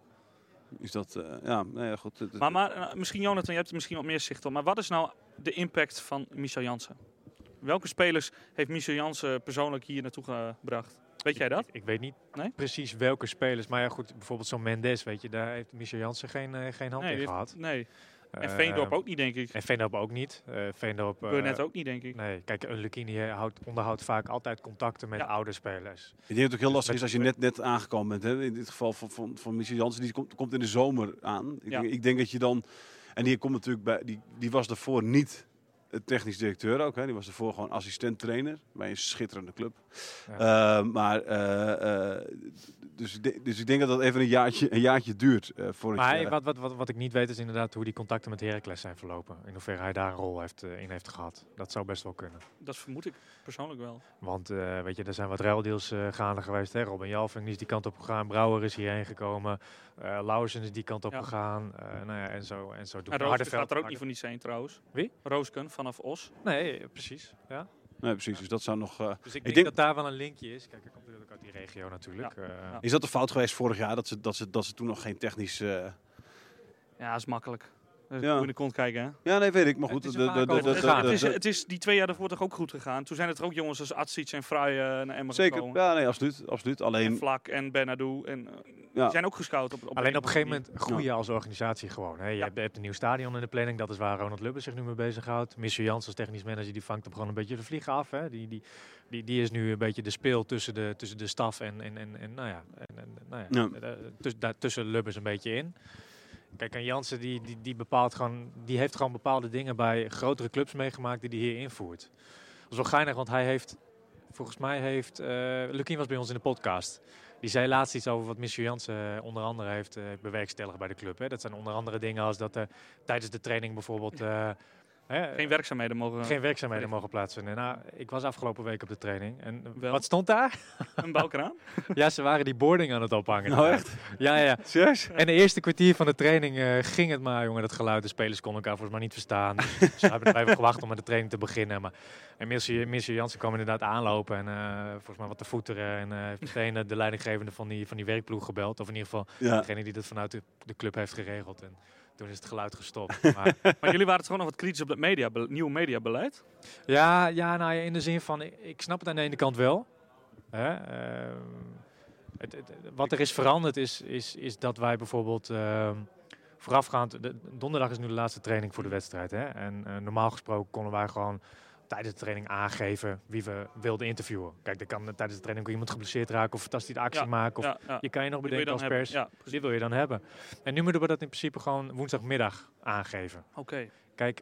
S2: Is dat, eh, ja, nou ja, goed. Het- het-
S3: Maar, maar eh, misschien, Jonathan, je hebt er misschien wat meer zicht op. Maar wat is nou de impact van Michel Jansen? Welke spelers heeft Michel Jansen persoonlijk hier naartoe gebracht? Weet jij dat?
S4: Ik, ik weet niet
S3: Nee?
S4: precies welke spelers. Maar ja, goed. Bijvoorbeeld zo'n Mendes, weet je. Daar heeft Michel Jansen geen, eh, geen hand
S3: die
S4: in
S3: heeft-
S4: gehad.
S3: nee. En
S4: Eh,
S3: Veendorp ook niet, denk ik.
S4: En Veendorp ook niet. Eh Veendorp... eh,
S3: Burnett ook niet, denk ik.
S4: Nee, kijk, een Lucchini eh, houdt, onderhoudt vaak altijd contacten met
S3: Ja.
S4: oude spelers.
S2: Ik denk dat het ook heel lastig
S4: met-
S2: is als je net, net aangekomen bent. Hè? In dit geval van, van, van Michel Jansen, die komt, komt in de zomer aan. Ik,
S3: Ja.
S2: denk, ik denk dat je dan... En die, komt natuurlijk bij, die, die was daarvoor niet eh, technisch directeur ook. Hè? Die was daarvoor gewoon assistent trainer bij een schitterende club. Eh, maar, eh, eh, dus, ik denk- dus ik denk dat dat even een jaartje, een jaartje duurt. eh voordat
S4: Maar
S2: je,
S4: hij- wat, wat, wat, wat ik niet weet is inderdaad hoe die contacten met Heracles zijn verlopen. In hoeverre hij daar een rol heeft, eh, in heeft gehad. Dat zou best wel kunnen.
S3: Dat vermoed ik persoonlijk wel.
S4: Want eh, weet je, er zijn wat ruildeals eh, gaande geweest. Hè? Robin Jalving is die kant op gegaan. Brouwer is hierheen gekomen. eh Lauwersen is die kant op
S3: Ja.
S4: gegaan. eh, nou ja, en zo, en zo doen.
S3: En Roosken
S4: Hardenveld-
S3: gaat er ook niet voor niet zijn, trouwens.
S4: Wie?
S3: Roosken vanaf Os.
S4: Nee, eh, precies. Ja.
S2: Nee, precies. Dus dat zou nog... eh,
S4: Dus ik, denk
S2: denk-
S4: dat daar wel een linkje is. Kijk, ik kom natuurlijk uit die regio natuurlijk. eh,
S3: ja.
S2: is dat de fout geweest vorig jaar? Dat ze, dat ze, dat ze toen nog geen technisch... eh,
S3: Ja, is makkelijk. Dat
S2: Ja.
S3: moet je in de kont kijken, hè?
S2: Ja, nee, weet ik. Maar
S4: Het
S2: goed,
S4: is
S2: de-
S4: er
S2: de-
S4: vaak
S2: de-
S4: over
S2: de-
S4: gegaan.
S2: de-
S3: Het is,
S2: de-
S3: het is die twee jaar daarvoor toch ook goed gegaan. Toen zijn het er ook jongens als Atsic en Fry eh naar Emmen
S2: Zeker.
S3: gekomen.
S2: Ja, nee, absoluut. absoluut.
S3: En
S2: Alleen...
S3: Vlak en Benadou. En, eh,
S2: Ja.
S3: Die zijn ook gescout. Op, op
S4: Alleen op een gegeven
S3: manier.
S4: moment groei je als organisatie gewoon. Hè. Je, hebt, je hebt een nieuw stadion in de planning, dat is waar Ronald Lubbers zich nu mee bezighoudt. Michel Jans als technisch manager, die vangt hem gewoon een beetje de vliegen af. Hè. Die, die, die, die is nu een beetje de speel tussen de, tussen de staf en, en, en, en nou ja, en, en, nou ja,
S2: Ja.
S4: eh, eh, tuss- daar tussen Lubbers een beetje in. Kijk, en Jansen die, die, die bepaalt gewoon, die heeft gewoon bepaalde dingen bij grotere clubs meegemaakt die hij hier invoert. Dat is wel geinig, want hij heeft, volgens mij heeft, eh Lukien was bij ons in de podcast. Die zei laatst iets over wat Michel Jansen eh, onder andere heeft eh, bewerkstelligd bij de club. Hè. Dat zijn onder andere dingen als dat er tijdens de training bijvoorbeeld eh, hè,
S3: Geen werkzaamheden mogen.
S4: geen werkzaamheden
S3: verricht.
S4: mogen plaatsvinden. Nou, ik was afgelopen week op de training en
S3: Wel.
S4: wat stond daar?
S3: Een bouwkraan.
S4: ja, ze waren die boarding aan het ophangen.
S2: Nou, echt?
S4: Ja, ja.
S2: Serieus?
S4: En de eerste kwartier van de training eh, ging het maar, jongen, dat geluid. De spelers konden elkaar volgens mij niet verstaan. dus we hebben er even gewacht om met de training te beginnen. Maar, en Michel, Michel Jansen kwam inderdaad aanlopen en eh, volgens mij wat te voeteren. En eh, heeft meteen eh, de leidinggevende van die, van die werkploeg gebeld. Of in ieder geval
S2: Ja.
S4: degene die dat vanuit de, de club heeft geregeld. En toen is het geluid gestopt. Maar,
S3: Maar jullie waren toch gewoon nog wat kritisch op dat media, nieuwe mediabeleid.
S4: ja, ja, nou ja, in de zin van, ik, ik snap het aan de ene kant wel. Hè? ehm, het, het- wat er is veranderd is, is, is dat wij bijvoorbeeld ehm, voorafgaand... de- donderdag is nu de laatste training voor de wedstrijd. Hè? En eh, normaal gesproken konden wij gewoon tijdens de training aangeven wie we wilden interviewen. Kijk, er kan eh, tijdens de training ook iemand geblesseerd raken of een fantastische actie
S3: Ja,
S4: maken. Of
S3: ja, ja.
S4: Je kan je nog
S3: Die wil je
S4: bedenken
S3: dan
S4: als
S3: hebben.
S4: pers.
S3: Ja,
S4: Dit wil je dan hebben. En nu moeten we dat in principe gewoon woensdagmiddag aangeven.
S3: oké.
S4: Kijk...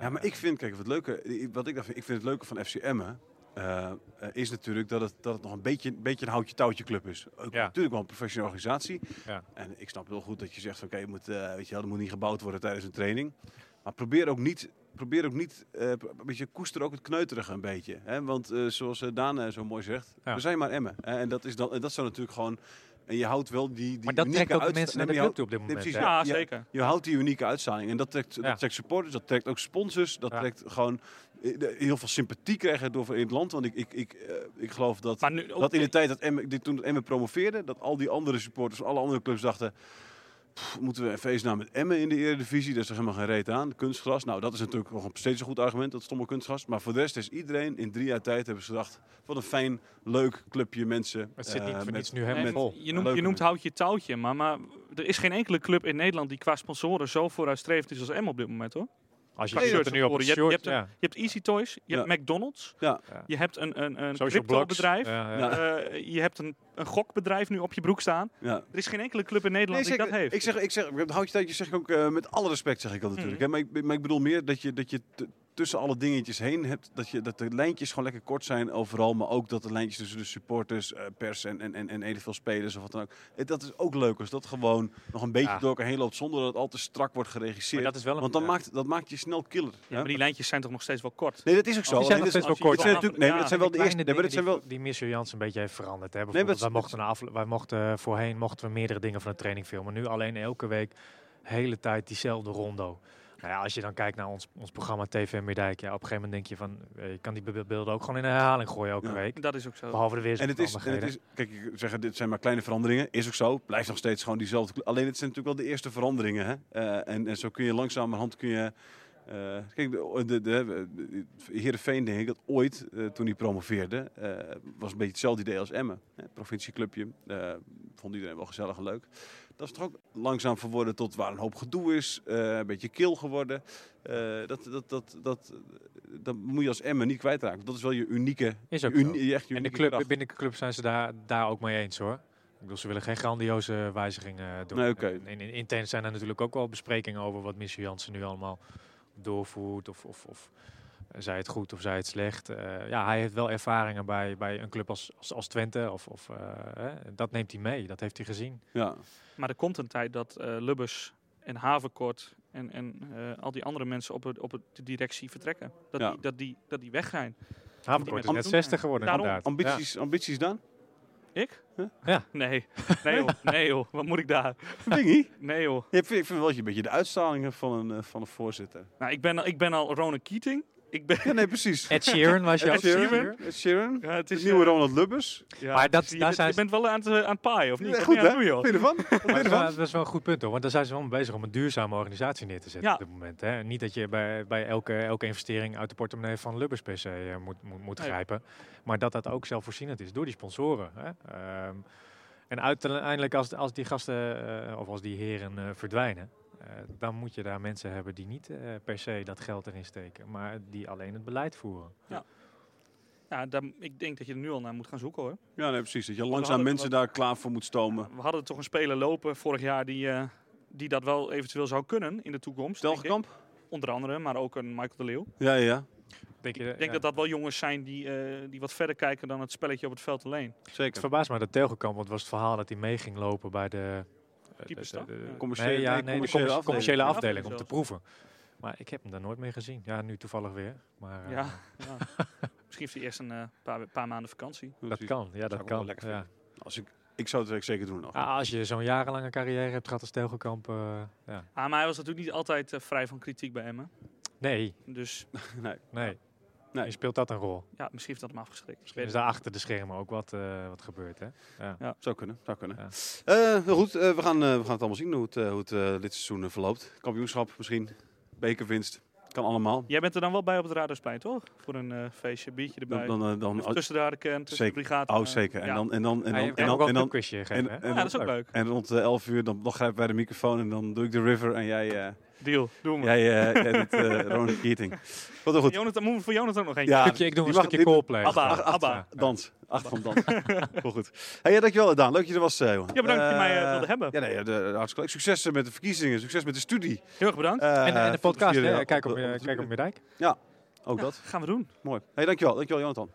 S2: Ja, maar
S4: eh,
S2: ik vind, kijk, wat, leuke, wat ik, daar vind, ik vind het leuke van FC Emmen... eh, eh, is natuurlijk dat het, dat het nog een beetje, beetje een houtje-touwtje club is. Ook
S4: Ja.
S2: Natuurlijk wel een professionele organisatie.
S4: Ja.
S2: En ik snap heel goed dat je zegt, van, oké, je moet, eh, weet je wel, er moet niet gebouwd worden tijdens een training. Maar probeer ook niet, probeer ook niet eh, pro- een beetje koester ook het kneuterige een beetje. Hè? Want eh, zoals eh, Daan eh, zo mooi zegt,
S4: Ja.
S2: we zijn maar Emmen. Eh, en dat, is dan, en dat zou natuurlijk gewoon... En je houdt wel die, die
S4: Maar dat
S2: unieke
S4: trekt ook de
S2: uitst-
S4: mensen
S2: Nee,
S4: naar de
S2: maar je
S4: club toe op dit
S2: Nee,
S4: moment.
S2: precies,
S4: hè?
S2: Ja,
S3: Ja,
S2: ja.
S3: zeker.
S2: Je houdt die unieke uitstraling. En dat trekt,
S4: Ja.
S2: dat trekt supporters, dat trekt ook sponsors. Dat
S4: Ja.
S2: trekt gewoon eh, de- heel veel sympathie krijgen door in het land. Want ik, ik, ik, eh, ik geloof dat,
S3: Maar nu ook-
S2: dat in de tijd dat Emmen, dit- toen Emmen promoveerde... dat al die andere supporters, alle andere clubs dachten... "Pff, Moeten we een feestnaam met Emmen in de Eredivisie? Daar is er helemaal geen reet aan. Kunstgras, nou dat is natuurlijk nog steeds een goed argument, dat stomme kunstgras. Maar voor de rest is iedereen in drie jaar tijd hebben ze gedacht... wat een fijn, leuk clubje mensen.
S4: Het zit
S2: eh,
S4: niet voor
S2: met-
S4: niets nu
S3: En
S4: helemaal vol.
S3: je noemt, je
S2: Leuke
S3: noemt
S2: mensen.
S3: houtje touwtje, maar, maar er is geen enkele club in Nederland die qua sponsoren zo vooruitstrevend is als M op dit moment hoor.
S4: Als je
S3: Qua
S4: ziet wat er nu op het
S3: shirtsponsoren. je,
S4: shirt,
S3: hebt, je, hebt
S4: ja.
S3: een- je hebt Easy Toys, je
S2: Ja.
S3: hebt McDonald's,
S2: Ja.
S4: Ja.
S3: je hebt een, een, een
S4: Social blogs.
S3: cryptobedrijf,
S4: Ja, ja.
S2: Ja.
S3: eh, je hebt een, een gokbedrijf nu op je broek staan.
S2: Ja.
S3: Er is geen enkele club in Nederland
S2: Nee,
S3: die dat
S2: zeker.
S3: heeft.
S2: Ik zeg, ik zeg, houd je tijdje zeg ik ook eh, met alle respect zeg ik dat natuurlijk. Hè? Maar, ik, maar ik bedoel meer dat je, dat je te, te tussen alle dingetjes heen hebt, dat, je, dat de lijntjes gewoon lekker kort zijn overal. Maar ook dat de lijntjes tussen de supporters, eh, pers en, en, en, en evenveel spelers of wat dan ook. Het- Dat is ook leuk als dat gewoon nog een beetje
S4: Ja.
S2: door elkaar heen loopt zonder dat het al te strak wordt geregisseerd.
S4: Maar dat is wel een-
S2: Want dan
S4: ja.
S2: maakt, dat maakt je snel killer. hè?
S3: maar die lijntjes zijn toch nog steeds wel kort?
S2: Nee, dat is ook zo.
S4: die zijn
S2: Alleen dit-
S4: nog steeds wel
S2: dit zijn
S3: kort.
S2: natuurlijk- Nee, maar dat zijn wel de eerste.
S4: Kleine
S2: Nee, maar dat zijn
S4: dingen
S2: wel,
S4: die, die Michel Jans een beetje heeft veranderd. Hè?
S2: maar
S4: Bijvoorbeeld,
S2: dat
S4: wij,
S2: is-
S4: mochten een afle- wij mochten eh, voorheen mochten we meerdere dingen van de training filmen. Nu alleen elke week, hele tijd diezelfde rondo. Nou ja, als je dan kijkt naar ons, ons programma TV en Meerdijk, ja, op een gegeven moment denk je van, eh, je kan die be- beelden ook gewoon in herhaling gooien elke
S2: Ja.
S4: week.
S3: Dat is ook zo.
S4: Behalve de
S2: En het, is, en het
S4: weersomstandigheden.
S2: is, kijk, ik zeg, dit zijn maar kleine veranderingen. Is ook zo. Blijft nog steeds gewoon diezelfde. kle- Alleen het zijn natuurlijk wel de eerste veranderingen. Hè? Eh, en, en zo kun je langzamerhand kun je. eh, kijk, de, de, de, de- Heerenveen denk ik dat ooit, eh, toen hij promoveerde, eh, was een beetje hetzelfde idee als Emmen. Hè? Provincieclubje, eh, vond iedereen wel gezellig en leuk. Dat is toch ook langzaam verworden tot waar een hoop gedoe is, eh, een beetje kil geworden. Eh, dat, dat, dat, dat, dat moet je als Emmen niet kwijtraken. Dat is wel je unieke,
S4: Is ook
S2: je
S4: zo.
S2: je echt je
S4: En de
S2: unieke
S4: club,
S2: kracht.
S4: binnen de club zijn ze daar, daar ook mee eens hoor. Ik bedoel, ze willen geen grandioze wijzigingen eh, doen.
S2: Nee, oké.
S4: En in- in- intern zijn er natuurlijk ook wel besprekingen over wat Michel Jansen nu allemaal doorvoert. Of, of, of zij het goed of zij het slecht. Eh, ja, hij heeft wel ervaringen bij, bij een club als, als, als Twente. Of, of, eh, hè. Dat neemt hij mee, dat heeft hij gezien.
S2: Ja.
S3: Maar er komt een tijd dat eh, Lubbers en Havenkort en, en eh, al die andere mensen op, het, op het, de directie vertrekken. Dat,
S2: Ja.
S3: die, dat, die, dat die weg zijn.
S4: Haverkort is
S3: Am-
S4: net 60 geworden
S3: Daarom.
S4: inderdaad. Ja.
S2: Ambities, ambities dan?
S3: Ik?
S4: Ja.
S3: Nee. Nee joh. Nee joh. Wat moet ik daar?
S2: Dingie?
S3: Nee joh.
S2: Ik vind, ik vind wel dat je een beetje de uitstraling hebt van een, eh, van een voorzitter.
S3: Nou, ik ben, al- ik ben al Ronan Keating. Ik ben...
S2: Ja, nee, precies.
S4: Ed Sheeran was je
S3: Ed
S4: ook.
S3: Sheeran.
S2: Ed Sheeran.
S3: Ja, het
S2: De
S3: is,
S2: nieuwe
S3: eh,
S2: Ronald Lubbers.
S3: ja,
S4: Maar dat-
S3: dus je,
S4: daar
S3: bent-
S4: zijn
S3: je
S4: ze-
S3: bent wel aan het, eh, aan het paaien, of niet?
S2: Ja,
S3: Wat
S2: goed,
S3: ben je
S2: hè?
S3: aan het doen, joh?
S2: Wat vind je ervan? Wat vind je
S4: Maar dat is, wel,
S2: ervan?
S4: dat is wel een goed punt hoor. Want daar zijn ze wel mee bezig om een duurzame organisatie neer te zetten
S3: Ja.
S4: op dit moment. Hè. En Niet dat je bij, bij elke, elke investering uit de portemonnee van Lubbers per se eh, moet, moet, moet
S3: Nee.
S4: grijpen. Maar dat dat ook zelfvoorzienend is door die sponsoren. Hè. Ehm, en uiteindelijk als, als die gasten eh, of als die heren eh, verdwijnen. eh, dan moet je daar mensen hebben die niet eh, per se dat geld erin steken, maar die alleen het beleid voeren.
S3: Ja, daar, ik denk dat je er nu al naar moet gaan zoeken, hoor.
S2: Ja, nee, precies. Dat je
S3: hadden
S2: langzaam
S3: het
S2: mensen daar klaar voor moet stomen.
S3: We hadden toch een speler lopen vorig jaar die, eh, die dat wel eventueel zou kunnen in de toekomst. denk
S2: Stelgekamp?
S3: ik. Onder andere, maar ook een Michael de Leeuw.
S2: Ja, ja, ja.
S4: Denk je, eh,
S3: Ik eh, denk dat dat wel jongens zijn die, eh, die wat verder kijken dan het spelletje op het veld alleen.
S2: Zeker.
S4: Het verbaast me dat Telgekamp, want het was het verhaal dat hij mee ging lopen bij de... eh,
S3: Keepersstaf? Ja.
S2: Commerciële-
S4: nee, ja,
S2: nee,
S4: nee, de
S2: commerciële
S4: commer-
S2: afdeling.
S4: commerciële
S3: Afdeling
S4: afdeling om te
S3: zelfs.
S4: proeven. Maar ik heb hem daar nooit meer gezien. Ja, nu toevallig weer. Maar eh,
S3: Ja. ja. Misschien heeft hij eerst een eh, paar, paar maanden vakantie.
S4: dat kan. Ja, dat
S2: ik wel
S4: kan.
S2: lekker
S4: Ja.
S2: Als ik, ik zou het zeker doen nog.
S4: Ah, als je zo'n jarenlange carrière hebt gehad als Telgekamp... eh, ja.
S3: Ah, maar hij was natuurlijk niet altijd eh, vrij van kritiek bij Emmen.
S4: Nee,
S3: Dus
S4: nee.
S2: Nee.
S4: Je speelt dat een rol.
S3: ja, misschien heeft dat hem afgeschrikt. Ik
S4: Er
S3: weet
S4: is
S3: het
S4: daar achter de schermen ook wat, eh, wat gebeurt, hè? Ja.
S2: Zou kunnen, zou kunnen.
S4: Ja.
S2: Eh, heel goed, eh, we, gaan, eh, we gaan het allemaal zien hoe het, eh, hoe het eh, dit seizoen eh, verloopt. Kampioenschap misschien, bekerwinst, kan allemaal.
S3: niet. Jij bent er dan wel bij op het Radarsplein, toch? Voor een eh, feestje, biertje
S2: Dan,
S3: erbij.
S2: dan, eh, dan,
S3: Even tussen de harde kern, tussen
S2: zeker.
S3: de brigade.
S2: oh,
S3: eh,
S2: zeker. En
S3: ja.
S2: dan, en dan, en
S4: Ah, je
S2: dan,
S4: kan
S2: en dan,
S4: ook wel
S2: en
S4: een
S2: dan, oh.
S4: quizje
S2: en-
S4: geven, hè?
S2: en
S3: Ja, dat is ook leuk.
S2: En rond de 11 uur dan, dan grijpen wij de microfoon en dan doe ik de river en jij, eh
S3: Deal, doen we.
S2: jij, eh, jij doet eh Ronald Keating. Wat een goed.
S3: Jonathan, moeten we voor Jonathan ook nog eentje?
S2: Ja,
S4: Stukje- ik doe
S2: die
S4: een
S2: mag-
S4: stukje
S2: dit-
S4: Coldplay.
S3: Abba,
S4: Ja.
S3: Abba.
S4: Ja.
S2: Dans. Acht van dans. Heel goed. Hey, ja, dankjewel Daan. Leuk dat je er was, eh, Johan.
S3: Ja, bedankt dat je mij, eh,
S2: Eh,
S3: wilde hebben.
S2: Ja, nee, ja, de, hartstikke leuk. Succes eh, met de verkiezingen. Succes met de studie.
S3: Heel erg bedankt.
S2: Eh,
S4: En, en de
S2: veel
S4: podcast,
S2: plezier, eh,
S4: hè? Kijk op,
S2: de-
S4: eh,
S2: de-
S4: kijk op Meerdijk.
S2: Ook dat.
S3: Gaan we doen.
S2: Mooi. Hey, dankjewel. Dankjewel, Jonathan.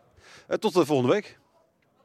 S2: Eh, tot de volgende week.